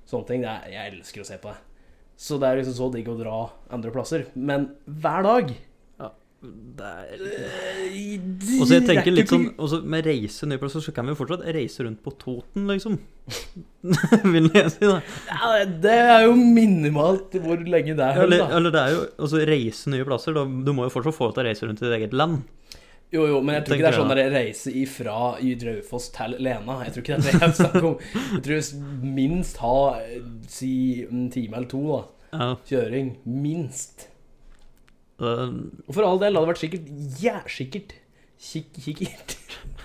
[SPEAKER 1] sånne ting. Det er, jeg elsker å se på det. Så det er liksom så digg å dra andre plasser. Men hver dag
[SPEAKER 2] Det er
[SPEAKER 1] Og
[SPEAKER 2] Og så jeg tenker litt sånn Og så med reise nye plasser, så kan vi jo fortsatt reise rundt på Toten, liksom. Vil jeg si, da.
[SPEAKER 1] Ja, det er jo minimalt hvor lenge det er.
[SPEAKER 2] Ja, Eller,
[SPEAKER 1] da.
[SPEAKER 2] eller det er jo altså, reise nye plasser. Da, du må jo fortsatt få deg til å reise rundt i ditt eget land.
[SPEAKER 1] Jo, jo, men jeg tror ikke det
[SPEAKER 2] Tenker
[SPEAKER 1] er sånn
[SPEAKER 2] jeg,
[SPEAKER 1] der reise ifra i Raufoss til Lena. Jeg tror ikke det er det jeg snakker om. Jeg tror s- minst ha eh, si en time eller to da
[SPEAKER 2] Ja,
[SPEAKER 1] kjøring. Minst.
[SPEAKER 2] det-
[SPEAKER 1] Og for all del hadde det vært sikkert ja, sikkert. Kikk, kikkert.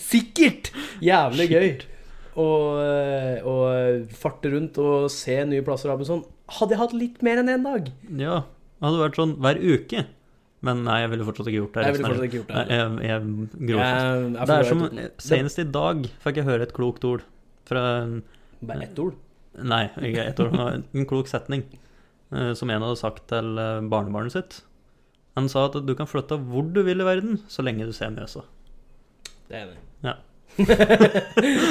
[SPEAKER 1] Sikkert! Jævlig gøy. Og, eh, og farte rundt og se nye plasser. og sånn. Hadde jeg hatt litt mer enn én dag?
[SPEAKER 2] ja. Det hadde vært sånn hver uke. Men nei, jeg ville fortsatt ikke gjort det.
[SPEAKER 1] Jeg ville
[SPEAKER 2] resten
[SPEAKER 1] fortsatt
[SPEAKER 2] av livet.
[SPEAKER 1] ikke gjort det.
[SPEAKER 2] Nei, jeg, jeg gror fast.
[SPEAKER 1] Jeg- jeg
[SPEAKER 2] Det er
[SPEAKER 1] får
[SPEAKER 2] som
[SPEAKER 1] et-
[SPEAKER 2] Senest i dag fikk jeg høre et klokt ord fra en-
[SPEAKER 1] Bare ett ord.
[SPEAKER 2] Nei, ikke et ord, men en klok setning eh, som en hadde sagt til eh, barnebarnet sitt. Han sa at du kan flytte hvor du vil i verden, så lenge du ser Mjøsa.
[SPEAKER 1] Det er jeg enig. i.
[SPEAKER 2] Ja.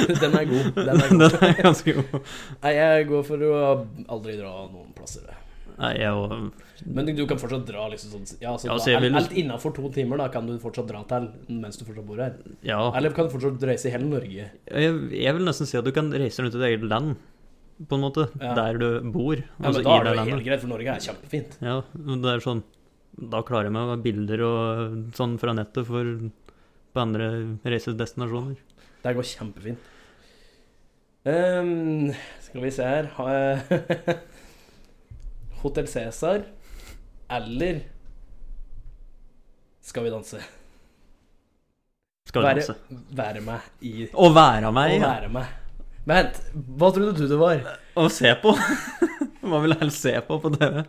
[SPEAKER 1] den er god. Den er god.
[SPEAKER 2] Den er ganske god.
[SPEAKER 1] Nei, jeg går for å aldri dra noen plasser. jeg.
[SPEAKER 2] Nei, jeg og
[SPEAKER 1] Men du kan fortsatt dra liksom sånn ja, så
[SPEAKER 2] Ja,
[SPEAKER 1] da,
[SPEAKER 2] så jeg vil-
[SPEAKER 1] Alt innafor to timer da kan du fortsatt dra til mens du fortsatt bor her.
[SPEAKER 2] Ja.
[SPEAKER 1] Eller kan du fortsatt reise i hele Norge.
[SPEAKER 2] Jeg, jeg vil nesten si at du kan reise rundt i ditt eget land. på en måte,
[SPEAKER 1] Ja.
[SPEAKER 2] der du bor.
[SPEAKER 1] Ja,
[SPEAKER 2] altså
[SPEAKER 1] men da
[SPEAKER 2] i
[SPEAKER 1] er det jo
[SPEAKER 2] det landet.
[SPEAKER 1] helt greit, for Norge er kjempefint.
[SPEAKER 2] Ja, men det er sånn Da klarer jeg meg å ha bilder og sånn fra nettet for på andre reisedestinasjoner.
[SPEAKER 1] Det går kjempefint. Ehm, skal vi se her Ha- eh, Hotel Cæsar eller Skal vi danse?
[SPEAKER 2] Skal vi danse.
[SPEAKER 1] være med i
[SPEAKER 2] Å være
[SPEAKER 1] Å
[SPEAKER 2] meg, ja.
[SPEAKER 1] være med. Vent, hva trodde du det var?
[SPEAKER 2] Å se på. Hva vil jeg helst se på på TV?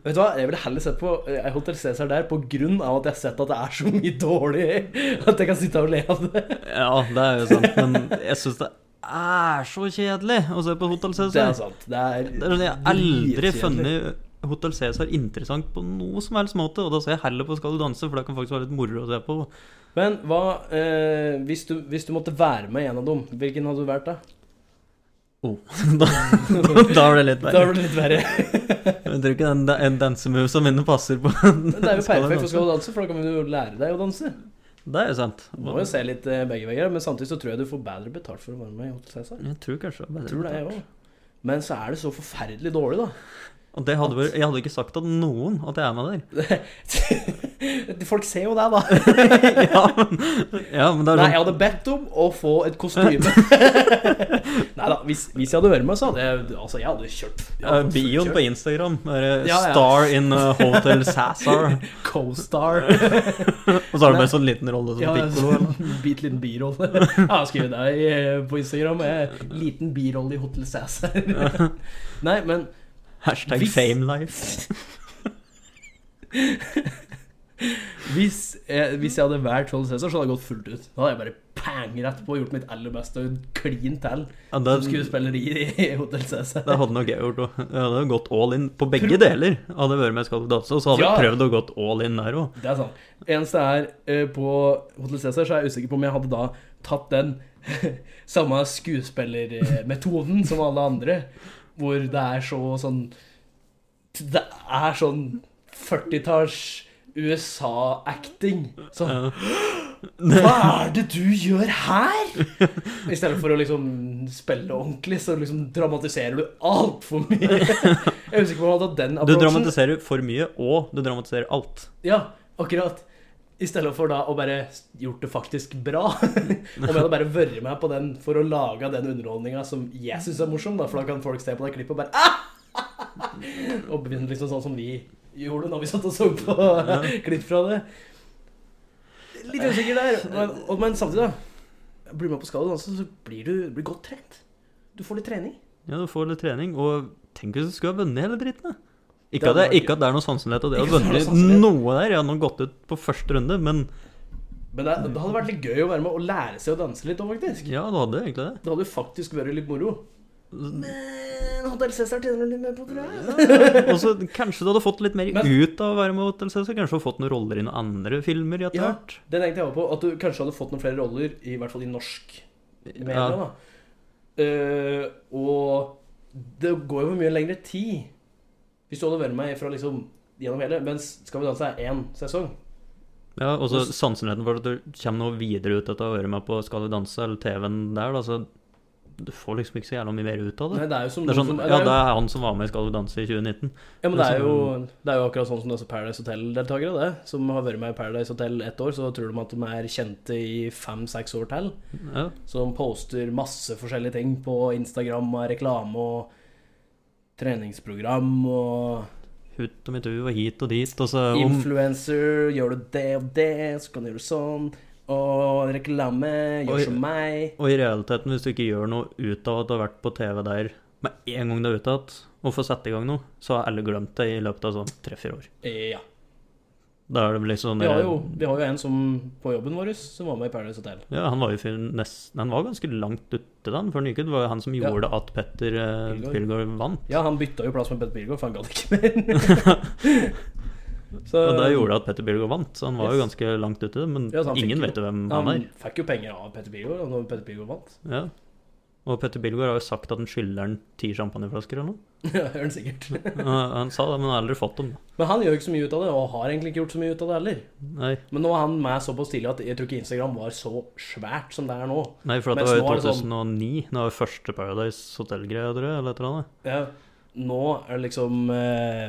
[SPEAKER 1] Vet du hva, Jeg ville heller sett på eh, Hotel Cæsar der på grunn av at jeg har sett at det er så mye dårlig at jeg kan sitte og le av det.
[SPEAKER 2] Ja, det er jo sant, men jeg syns det er så kjedelig å se på Hotel
[SPEAKER 1] Det er
[SPEAKER 2] Cæsar.
[SPEAKER 1] sant. Det er,
[SPEAKER 2] Altså, Det er sånn, Jeg har aldri
[SPEAKER 1] dritkjedelig.
[SPEAKER 2] funnet Hotel Cæsar interessant på noe som helst måte, og da ser jeg heller på Skal du danse, for det kan faktisk være litt moro å se på.
[SPEAKER 1] Men hva eh, hvis, du, hvis du måtte være med i en av dem, hvilken hadde du valgt da?
[SPEAKER 2] Oh. Da, da, da blir det litt
[SPEAKER 1] Da
[SPEAKER 2] verre.
[SPEAKER 1] var det litt verre.
[SPEAKER 2] Jeg tror ikke den, den dansemovesa mine passer på
[SPEAKER 1] Men det er jo
[SPEAKER 2] Skal jeg
[SPEAKER 1] perfekt for Skal
[SPEAKER 2] danse?
[SPEAKER 1] du danse, for da kan vi jo lære deg å danse.
[SPEAKER 2] Det er jo sant.
[SPEAKER 1] Du må jo se litt eh, begge veier, men samtidig så tror jeg du får bedre betalt for å være med i Hotel Cæsar.
[SPEAKER 2] Jeg tror kanskje det er bedre
[SPEAKER 1] Tror det, jeg
[SPEAKER 2] betalt.
[SPEAKER 1] også. Men så er det så forferdelig dårlig, da.
[SPEAKER 2] Og det hadde, vært- jeg hadde ikke sagt til noen at jeg er med der.
[SPEAKER 1] Folk ser jo deg, da.
[SPEAKER 2] ja, men, ja, men det er
[SPEAKER 1] Nei, jeg
[SPEAKER 2] sånn
[SPEAKER 1] hadde bedt om å få et kostyme. Nei da, hvis, hvis jeg hadde vært med, så hadde jeg Altså, jeg hadde kjørt. jeg
[SPEAKER 2] eh,
[SPEAKER 1] hadde
[SPEAKER 2] Bioen på
[SPEAKER 1] kjørt.
[SPEAKER 2] Instagram er eh,
[SPEAKER 1] Ja, ja.
[SPEAKER 2] Star in eh, Hotel Sassar.
[SPEAKER 1] Co-star.
[SPEAKER 2] Og så har du bare en sånn liten rolle som
[SPEAKER 1] Ja,
[SPEAKER 2] pikkolo. sånn eller?
[SPEAKER 1] bit liten birolle. Jeg har skrevet deg eh, på Instagram. eh, Liten birolle i Hotel Cæsar. Nei, men
[SPEAKER 2] Hashtag
[SPEAKER 1] Hvis-
[SPEAKER 2] famelife.
[SPEAKER 1] hvis, eh, hvis jeg hadde vært Hotel Cæsar, så hadde jeg gått fullt ut. Da hadde jeg bare pang rett på og gjort mitt aller beste og klin til
[SPEAKER 2] Ja, det,
[SPEAKER 1] som skuespiller i i Hotel Cæsar.
[SPEAKER 2] det hadde nok jeg gjort òg. Jeg hadde gått all in på begge deler. Hadde vært med i Skal du danse, og så hadde jeg
[SPEAKER 1] Ja.
[SPEAKER 2] prøvd å gått all in der òg.
[SPEAKER 1] Det er sant. Eneste er eh, på Hotel Cæsar så er jeg usikker på om jeg hadde da tatt den samme skuespillermetoden som alle andre, hvor det er så sånn Det er sånn 40-talls USA-acting. Sånn
[SPEAKER 2] Eh,
[SPEAKER 1] Hva er det du gjør her?! I stedet for å liksom spille ordentlig, så liksom dramatiserer du altfor mye. Jeg er usikker på om jeg hadde hatt den
[SPEAKER 2] Du
[SPEAKER 1] approachen.
[SPEAKER 2] dramatiserer for mye, og du dramatiserer alt.
[SPEAKER 1] Ja, akkurat. I stedet for da å bare gjort det faktisk bra. Om jeg hadde bare vært med på den for å lage den underholdninga som jeg syns er morsom, da, for da kan folk se på det klippet og bare ah! Og begynne liksom sånn som vi gjorde når vi satt og så på klipp fra det. Litt usikker der. Men, og, men samtidig, da. Blir du med på Skal du danse, så blir du blir godt trent. Du får litt trening.
[SPEAKER 2] Ja, du får litt trening, og tenk hvis du skulle ha vunnet hele dritten, da.
[SPEAKER 1] Det
[SPEAKER 2] Ikke at, det,
[SPEAKER 1] hadde vært
[SPEAKER 2] ikke at det er noe sannsynlighet at jeg
[SPEAKER 1] Ikke
[SPEAKER 2] har
[SPEAKER 1] at det er
[SPEAKER 2] vunnet
[SPEAKER 1] noe sannsynlighet.
[SPEAKER 2] noe der. Jeg hadde nå gått ut på første runde, men
[SPEAKER 1] Men det, det hadde vært litt gøy å være med og lære seg å danse litt òg, faktisk.
[SPEAKER 2] ja, du hadde egentlig det.
[SPEAKER 1] Det hadde jo faktisk vært litt moro. Men Hotell Cæsar tjener litt mer på, tror jeg.
[SPEAKER 2] Og så kanskje du hadde fått litt mer
[SPEAKER 1] Men-
[SPEAKER 2] ut av å være med i Hotel Cæsar. Kanskje du hadde fått noen roller i noen andre filmer i etter
[SPEAKER 1] Ja,
[SPEAKER 2] hvert.
[SPEAKER 1] det tenkte jeg også på. At du kanskje hadde fått noen flere roller, i hvert fall i norsk media.
[SPEAKER 2] Ja.
[SPEAKER 1] da. Eh, og det går jo mye lengre tid hvis du hadde vært med fra liksom gjennom hele, mens Skal vi danse er én sesong.
[SPEAKER 2] Ja, og så sannsynligheten for at du kommer noe videre ut etter å være med på Skal vi danse eller TV-en der, da, så du får liksom ikke så jævla mye mer ut av det.
[SPEAKER 1] Nei, det er jo som
[SPEAKER 2] Det er sånn,
[SPEAKER 1] noen som,
[SPEAKER 2] ja,
[SPEAKER 1] jo,
[SPEAKER 2] det er han som var med i Skal vi danse i 2019.
[SPEAKER 1] ja, men det
[SPEAKER 2] det er
[SPEAKER 1] er, jo, det er jo akkurat sånn som disse Paradise Hotel-deltakere, det. Som har vært med i Paradise Hotel ett år, så tror de at de er kjente i fem-seks år til.
[SPEAKER 2] Ja.
[SPEAKER 1] Som poster masse forskjellige ting på Instagram og reklame og treningsprogram og
[SPEAKER 2] Hut og mitt og hit og dit, og så om
[SPEAKER 1] influencer. Gjør du det og det, så kan du gjøre sånn. Og reklame.
[SPEAKER 2] Oi.
[SPEAKER 1] Gjør som meg.
[SPEAKER 2] Og i realiteten, hvis du ikke gjør noe ut av at du har vært på TV der med en gang du er ute igjen, og får sette i gang noe, så har alle glemt det i løpet av sånn tre-fire år.
[SPEAKER 1] Eh, Ja.
[SPEAKER 2] Da er det vel liksom
[SPEAKER 1] Vi har, jo, vi har jo en som på jobben vår som var med i Paradise Hotel.
[SPEAKER 2] Ja, han var jo fyr- nesten Han var ganske langt ute da, før han gikk ut. Det var jo han som
[SPEAKER 1] Ja.
[SPEAKER 2] gjorde at Petter eh,
[SPEAKER 1] Pilgaard.
[SPEAKER 2] Pilgaard vant.
[SPEAKER 1] Ja, han bytta jo plass med Petter Pilgaard, for han gadd ikke mer. Så-
[SPEAKER 2] Og det gjorde at Petter Pilgaard vant, så han var jo
[SPEAKER 1] Yes.
[SPEAKER 2] ganske langt ute. Men
[SPEAKER 1] Ja, så han fikk
[SPEAKER 2] ingen
[SPEAKER 1] jo-
[SPEAKER 2] vet jo hvem han
[SPEAKER 1] han
[SPEAKER 2] er.
[SPEAKER 1] fikk jo penger av Petter Pilgaard når Petter Pilgaard vant.
[SPEAKER 2] Ja. Og Petter Bilgaard har jo sagt at han skylder han ti champagneflasker eller noe.
[SPEAKER 1] Ja, hører den sikkert.
[SPEAKER 2] Og han sa det, men han har aldri fått dem. da.
[SPEAKER 1] Men han gjør jo ikke så mye ut av det, og har egentlig ikke gjort så mye ut av det heller.
[SPEAKER 2] Nei,
[SPEAKER 1] Men nå var han med såpass tidlig at jeg tror ikke Instagram var så svært som det er nå.
[SPEAKER 2] Nei for at det
[SPEAKER 1] Mens nå er
[SPEAKER 2] var jo
[SPEAKER 1] det sånn-
[SPEAKER 2] 2009. Det var jo første Paradise Hotel-greia, tror jeg. Eller et eller annet.
[SPEAKER 1] Ja, nå er det liksom eh,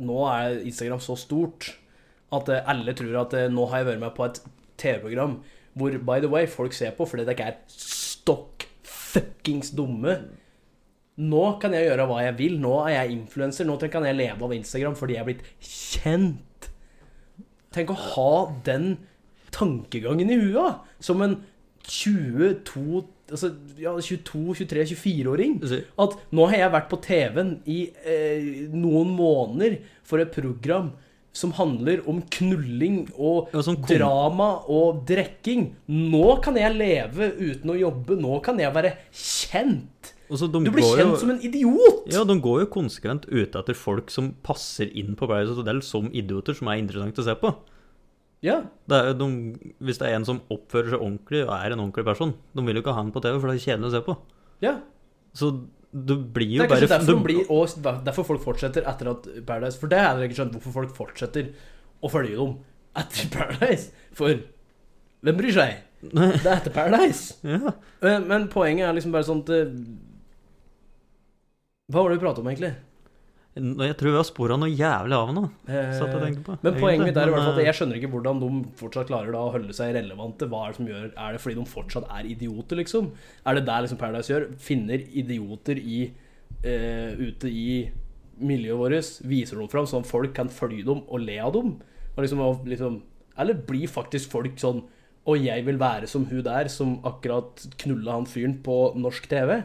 [SPEAKER 1] Nå er Instagram så stort at eh, alle tror at eh, nå har jeg vært med på et TV-program hvor, by the way, folk ser på fordi dere ikke er stokk fuckings dumme. Nå kan jeg gjøre hva jeg vil. Nå er jeg influenser. Nå kan jeg leve av Instagram fordi jeg er blitt kjent. Tenk å ha den tankegangen i huet som en 22, altså, ja, 22 23, 24-åring.
[SPEAKER 2] Så-
[SPEAKER 1] At nå har jeg vært på TV-en i eh, noen måneder for et program som handler om knulling og
[SPEAKER 2] Ja, som sånn kom-
[SPEAKER 1] drama og drikking. Nå kan jeg leve uten å jobbe. Nå kan jeg være kjent.
[SPEAKER 2] Og så de
[SPEAKER 1] Du blir
[SPEAKER 2] går
[SPEAKER 1] kjent
[SPEAKER 2] jo,
[SPEAKER 1] som en idiot!
[SPEAKER 2] Ja, de går jo konsekvent ute etter folk som passer inn på Paradise Hotel som idioter, som er interessant å se på.
[SPEAKER 1] Ja.
[SPEAKER 2] Det er, jo de, hvis det er en som oppfører seg ordentlig og er en ordentlig person, de vil jo ikke ha han på TV, for det er kjedelig å se på.
[SPEAKER 1] ja.
[SPEAKER 2] Så du blir
[SPEAKER 1] Det
[SPEAKER 2] jo
[SPEAKER 1] er kanskje
[SPEAKER 2] bare
[SPEAKER 1] derfor,
[SPEAKER 2] du-
[SPEAKER 1] de blir, og derfor folk fortsetter etter at Paradise For det har jeg ikke skjønt hvorfor folk fortsetter å følge dem etter Paradise. For hvem bryr seg? Det
[SPEAKER 2] Nei.
[SPEAKER 1] er etter Paradise.
[SPEAKER 2] Ja.
[SPEAKER 1] Men, Eh, men poenget er liksom bare sånn at eh, Hva var det vi pratet om, egentlig?
[SPEAKER 2] Nå, Jeg tror vi har spora noe jævlig av nå.
[SPEAKER 1] Eh,
[SPEAKER 2] Satt jeg og tenkte på.
[SPEAKER 1] men poenget mitt er i hvert fall at
[SPEAKER 2] men, eh,
[SPEAKER 1] jeg skjønner ikke hvordan de fortsatt klarer da å holde seg relevante. Hva Er det som gjør Er det fordi de fortsatt er idioter, liksom? Er det der liksom Paradise gjør? Finner idioter i eh, ute i miljøet vårt, viser dem fram sånn at folk kan følge dem og le av dem? Og liksom, og liksom, eller blir faktisk folk sånn Og jeg vil være som hun der som akkurat knulla han fyren på norsk TV?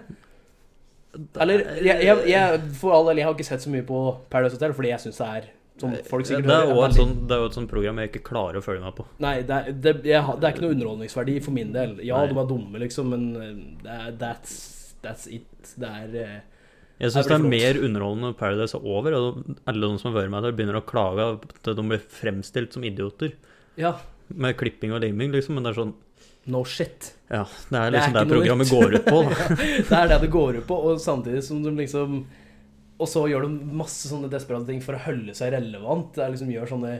[SPEAKER 1] Eller jeg, jeg, jeg, For all del, jeg har ikke sett så mye på Paradise Hotel, fordi jeg syns det er som folk sikkert
[SPEAKER 2] eh, det er jo
[SPEAKER 1] hører,
[SPEAKER 2] sånn-
[SPEAKER 1] er
[SPEAKER 2] et
[SPEAKER 1] veldig-
[SPEAKER 2] sånt- det er jo et sånt program jeg ikke klarer å følge meg på.
[SPEAKER 1] Nei, det er, det, jeg, har- det er ikke noe underholdningsverdi for min del. Ja,
[SPEAKER 2] Nei.
[SPEAKER 1] de er dumme, liksom, men eh, det er, that's, that's it. Det er eh, Nei,
[SPEAKER 2] Jeg syns
[SPEAKER 1] det
[SPEAKER 2] det er
[SPEAKER 1] blir
[SPEAKER 2] mer underholdende når Paradise er over, og alle de som har vært med der, begynner å klage av at de blir fremstilt som idioter.
[SPEAKER 1] Ja,
[SPEAKER 2] Med klipping og liming, liksom. Men det er sånn
[SPEAKER 1] no shit.
[SPEAKER 2] Ja, det er
[SPEAKER 1] Det er
[SPEAKER 2] liksom det,
[SPEAKER 1] ikke noe
[SPEAKER 2] programmet
[SPEAKER 1] nytt.
[SPEAKER 2] går ut på.
[SPEAKER 1] Det
[SPEAKER 2] Da.
[SPEAKER 1] er det det går ut på, og samtidig som de liksom Og så gjør de masse sånne desperate ting for å holde seg relevant. Det er liksom gjør sånne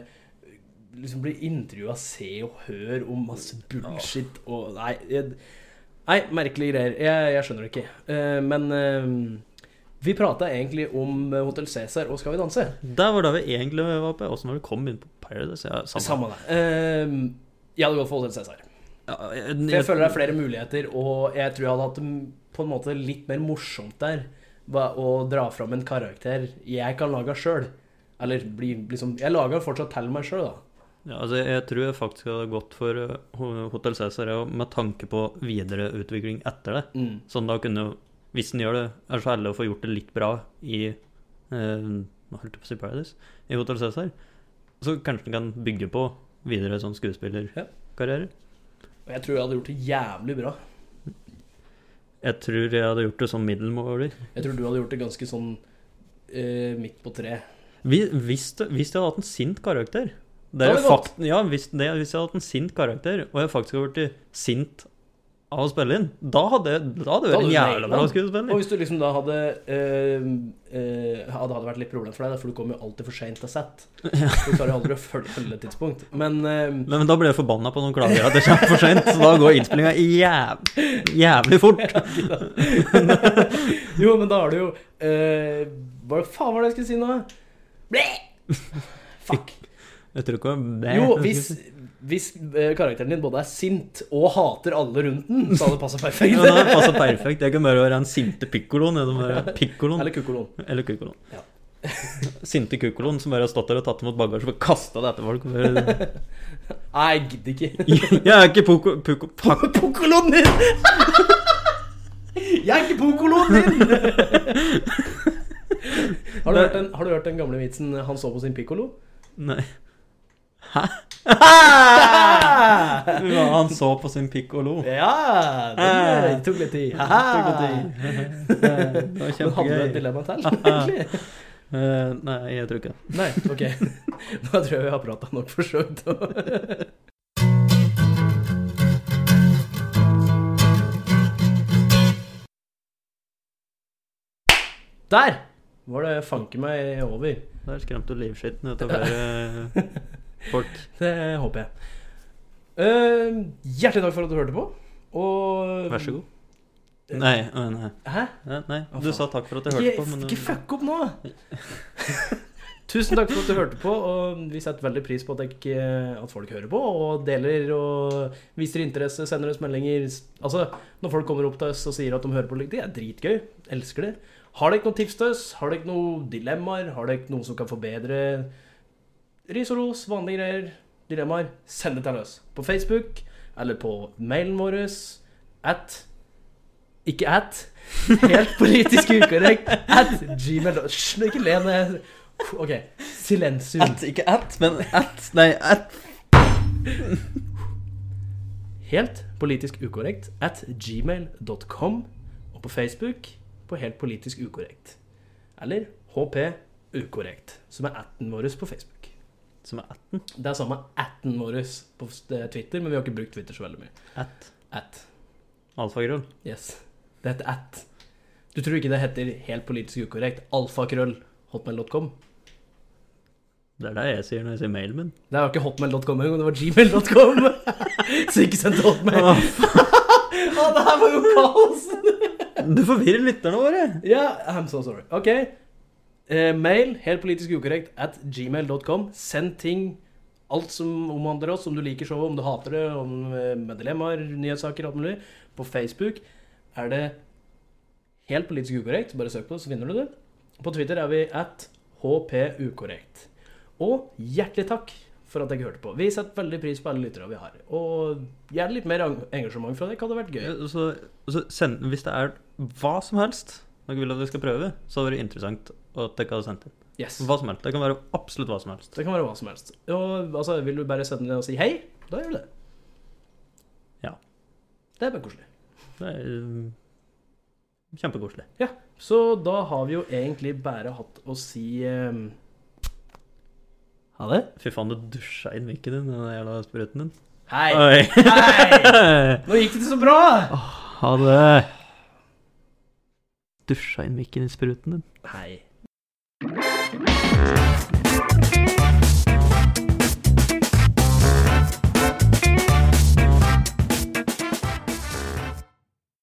[SPEAKER 1] Liksom blir intervjua, se og hør om masse bullshit og Nei, jeg, nei merkelige greier. Jeg, jeg skjønner det ikke. Eh, men eh, vi prata egentlig om Hotell Cæsar og Skal vi danse.
[SPEAKER 2] Der var det vi egentlig var på. Åssen var det vi kom inn på Paradise? Ja, samme.
[SPEAKER 1] Samme det. Eh, jeg hadde gått for Hotell Cæsar.
[SPEAKER 2] Ja, jeg,
[SPEAKER 1] For jeg føler det er flere muligheter, og jeg tror jeg hadde hatt det m- på en måte litt mer morsomt der. hva- Å dra fram en karakter jeg kan lage sjøl. Eller bli, liksom Jeg lager fortsatt til meg sjøl, da.
[SPEAKER 2] ja, altså, jeg tror jeg faktisk hadde gått for eh, Ho- Hotel Cæsar ja, med tanke på videre utvikling etter det.
[SPEAKER 1] Mm.
[SPEAKER 2] Sånn da kunne Hvis en gjør det, er så heldig å få gjort det litt bra i eh, Nå holdt jeg på å si Paradise. I Hotel Cæsar. Så kanskje en kan bygge på videre sånn skuespillerkarriere.
[SPEAKER 1] Og jeg tror jeg hadde gjort det jævlig bra.
[SPEAKER 2] Jeg tror jeg hadde gjort det som middelmåler.
[SPEAKER 1] Jeg tror du hadde gjort det ganske sånn eh, midt på treet.
[SPEAKER 2] Vi- Hvis, det- hvis jeg hadde hatt en sint karakter
[SPEAKER 1] Da
[SPEAKER 2] det
[SPEAKER 1] hadde
[SPEAKER 2] er
[SPEAKER 1] det gått.
[SPEAKER 2] fakt, Ja, hvis, det, hvis jeg hadde hatt en sint karakter, og jeg faktisk hadde blitt sint av å spille inn, da hadde jeg- da hadde
[SPEAKER 1] Da
[SPEAKER 2] jeg vært en
[SPEAKER 1] hadde du
[SPEAKER 2] jævla
[SPEAKER 1] nailet den.
[SPEAKER 2] bra
[SPEAKER 1] Og
[SPEAKER 2] skuespiller.
[SPEAKER 1] hvis du liksom da hadde eh, eh, Hadde hadde vært litt problem for deg, da, for du kommer jo alltid for seint til sett. Du klarer jo aldri å følge følge tidspunkt. Men eh,
[SPEAKER 2] Nei, Men da ble jeg forbanna på noen klager at det kommer for sent, så da går innspillinga jæv, jævlig fort.
[SPEAKER 1] Jo, men da har du jo eh, Hva faen var det jeg skulle si nå? Bleh! Fuck.
[SPEAKER 2] Jeg tror ikke det
[SPEAKER 1] Jo, hvis, hvis eh, karakteren din både er sint og hater alle rundt den, så hadde det passa
[SPEAKER 2] ja, Det
[SPEAKER 1] perfekt.
[SPEAKER 2] passer perfekt. Jeg kan bare være den sinte pikkoloen. Eller, bare pikkoloen,
[SPEAKER 1] Eller kukkoloen.
[SPEAKER 2] eller kukkoloen.
[SPEAKER 1] Ja.
[SPEAKER 2] Sinte kukkoloen som bare har stått der og tatt imot bagasje og kasta det etter folk. Bare,
[SPEAKER 1] Nei, jeg gidder ikke.
[SPEAKER 2] Jeg er ikke poko... poko pak,
[SPEAKER 1] Pokoloen din! Jeg er ikke pokoloen din! Har du, hørt den, har du hørt den gamle vitsen eh, 'han så på sin pikkolo'?
[SPEAKER 2] Nei. Hæ? Ja, han så på sin pikk og lo.
[SPEAKER 1] Ja! Den eh, tok litt tid. Haha.
[SPEAKER 2] Det var
[SPEAKER 1] Men hadde du et
[SPEAKER 2] kjempegøy.
[SPEAKER 1] dilemma til, egentlig?
[SPEAKER 2] Eh, nei, jeg tror ikke det.
[SPEAKER 1] Nei, ok. Da tror jeg vi har prata nok for så vidt. Der var det fanken meg over.
[SPEAKER 2] Der skremte du livskitten ut av flere eh, folk.
[SPEAKER 1] Det håper jeg. Eh, hjertelig takk for at du hørte på. Og
[SPEAKER 2] Vær så god. Nei, å, nei.
[SPEAKER 1] Hæ?
[SPEAKER 2] Ja, nei.
[SPEAKER 1] Å,
[SPEAKER 2] Du
[SPEAKER 1] faen.
[SPEAKER 2] sa takk for at jeg hørte
[SPEAKER 1] Ikke,
[SPEAKER 2] på, men eh,
[SPEAKER 1] ikke fuck opp nå! eh, Tusen takk for at du hørte på, og vi setter veldig pris på at, jeg, ikke- eh, at folk hører på og deler og viser interesse, sender oss meldinger. Altså, Når folk kommer opp til oss og sier at de hører på, det er dritgøy. Elsker det. Har dere noen tips til oss? Har dere noen dilemmaer? Har dere noe som kan forbedre? Ris og ros, vanlige greier, dilemmaer. Send det til oss på Facebook eller på mailen vår at ikke at. Helt politisk ukorrekt. At gmail. Hysj, nå ikke le når jeg OK. Silensium.
[SPEAKER 2] At, ikke at, men at. Nei, at.
[SPEAKER 1] Helt politisk ukorrekt. At gmail.com. Og på Facebook på Helt politisk ukorrekt. Eller HP ukorrekt, som er atten vår på Facebook.
[SPEAKER 2] Som er atten.
[SPEAKER 1] Det er samme atten vår på Twitter, men vi har ikke brukt Twitter så veldig mye.
[SPEAKER 2] At.
[SPEAKER 1] At.
[SPEAKER 2] Alfagrøll.
[SPEAKER 1] Yes. Det heter at. Du tror ikke det heter helt politisk ukorrekt? Alfakrøll. Hotmail.com.
[SPEAKER 2] Det er det jeg sier når jeg sier mailen min.
[SPEAKER 1] Det var ikke hotmail.com engang, det var gmail.com. Så ikke sendte hotmail.
[SPEAKER 2] Å,
[SPEAKER 1] Å, det her var jo kaos!
[SPEAKER 2] Du forvirrer lytterne våre!
[SPEAKER 1] Ja, I'm so sorry. Ok. Eh, mail helt politisk ukorrekt at gmail.com. Send ting, alt som omhandler oss, om du liker showet, om du hater det, om eh, med dilemmaer, nyhetssaker, alt mulig. På Facebook er det helt politisk ukorrekt. Bare søk på det, så finner du det. På Twitter er vi at hpukorrekt. Og hjertelig takk for at dere hørte på. Vi setter veldig pris på alle lyttere vi har. Og gjerne litt mer eng- engasjement fra dere. Hadde vært gøy.
[SPEAKER 2] Så, så send, hvis det er hva som helst dere vil at vi skal prøve, så hadde det vært interessant at dere hadde sendt inn.
[SPEAKER 1] Yes.
[SPEAKER 2] Hva som helst. Det kan være absolutt hva som helst.
[SPEAKER 1] Det kan være hva som helst. Og altså, vil du bare sende ned og si hei, da gjør du det.
[SPEAKER 2] Ja.
[SPEAKER 1] Det er bare koselig.
[SPEAKER 2] Det er eh, kjempekoselig.
[SPEAKER 1] Ja, så da har vi jo egentlig bare hatt å si ehm, Ha det.
[SPEAKER 2] Fy faen, du dusja inn mikken din, den jævla spruten din.
[SPEAKER 1] Hei.
[SPEAKER 2] Oi.
[SPEAKER 1] Hei! Nå gikk det ikke så bra!
[SPEAKER 2] Ha det. Dusja inn mikken i spruten din.
[SPEAKER 1] Hei.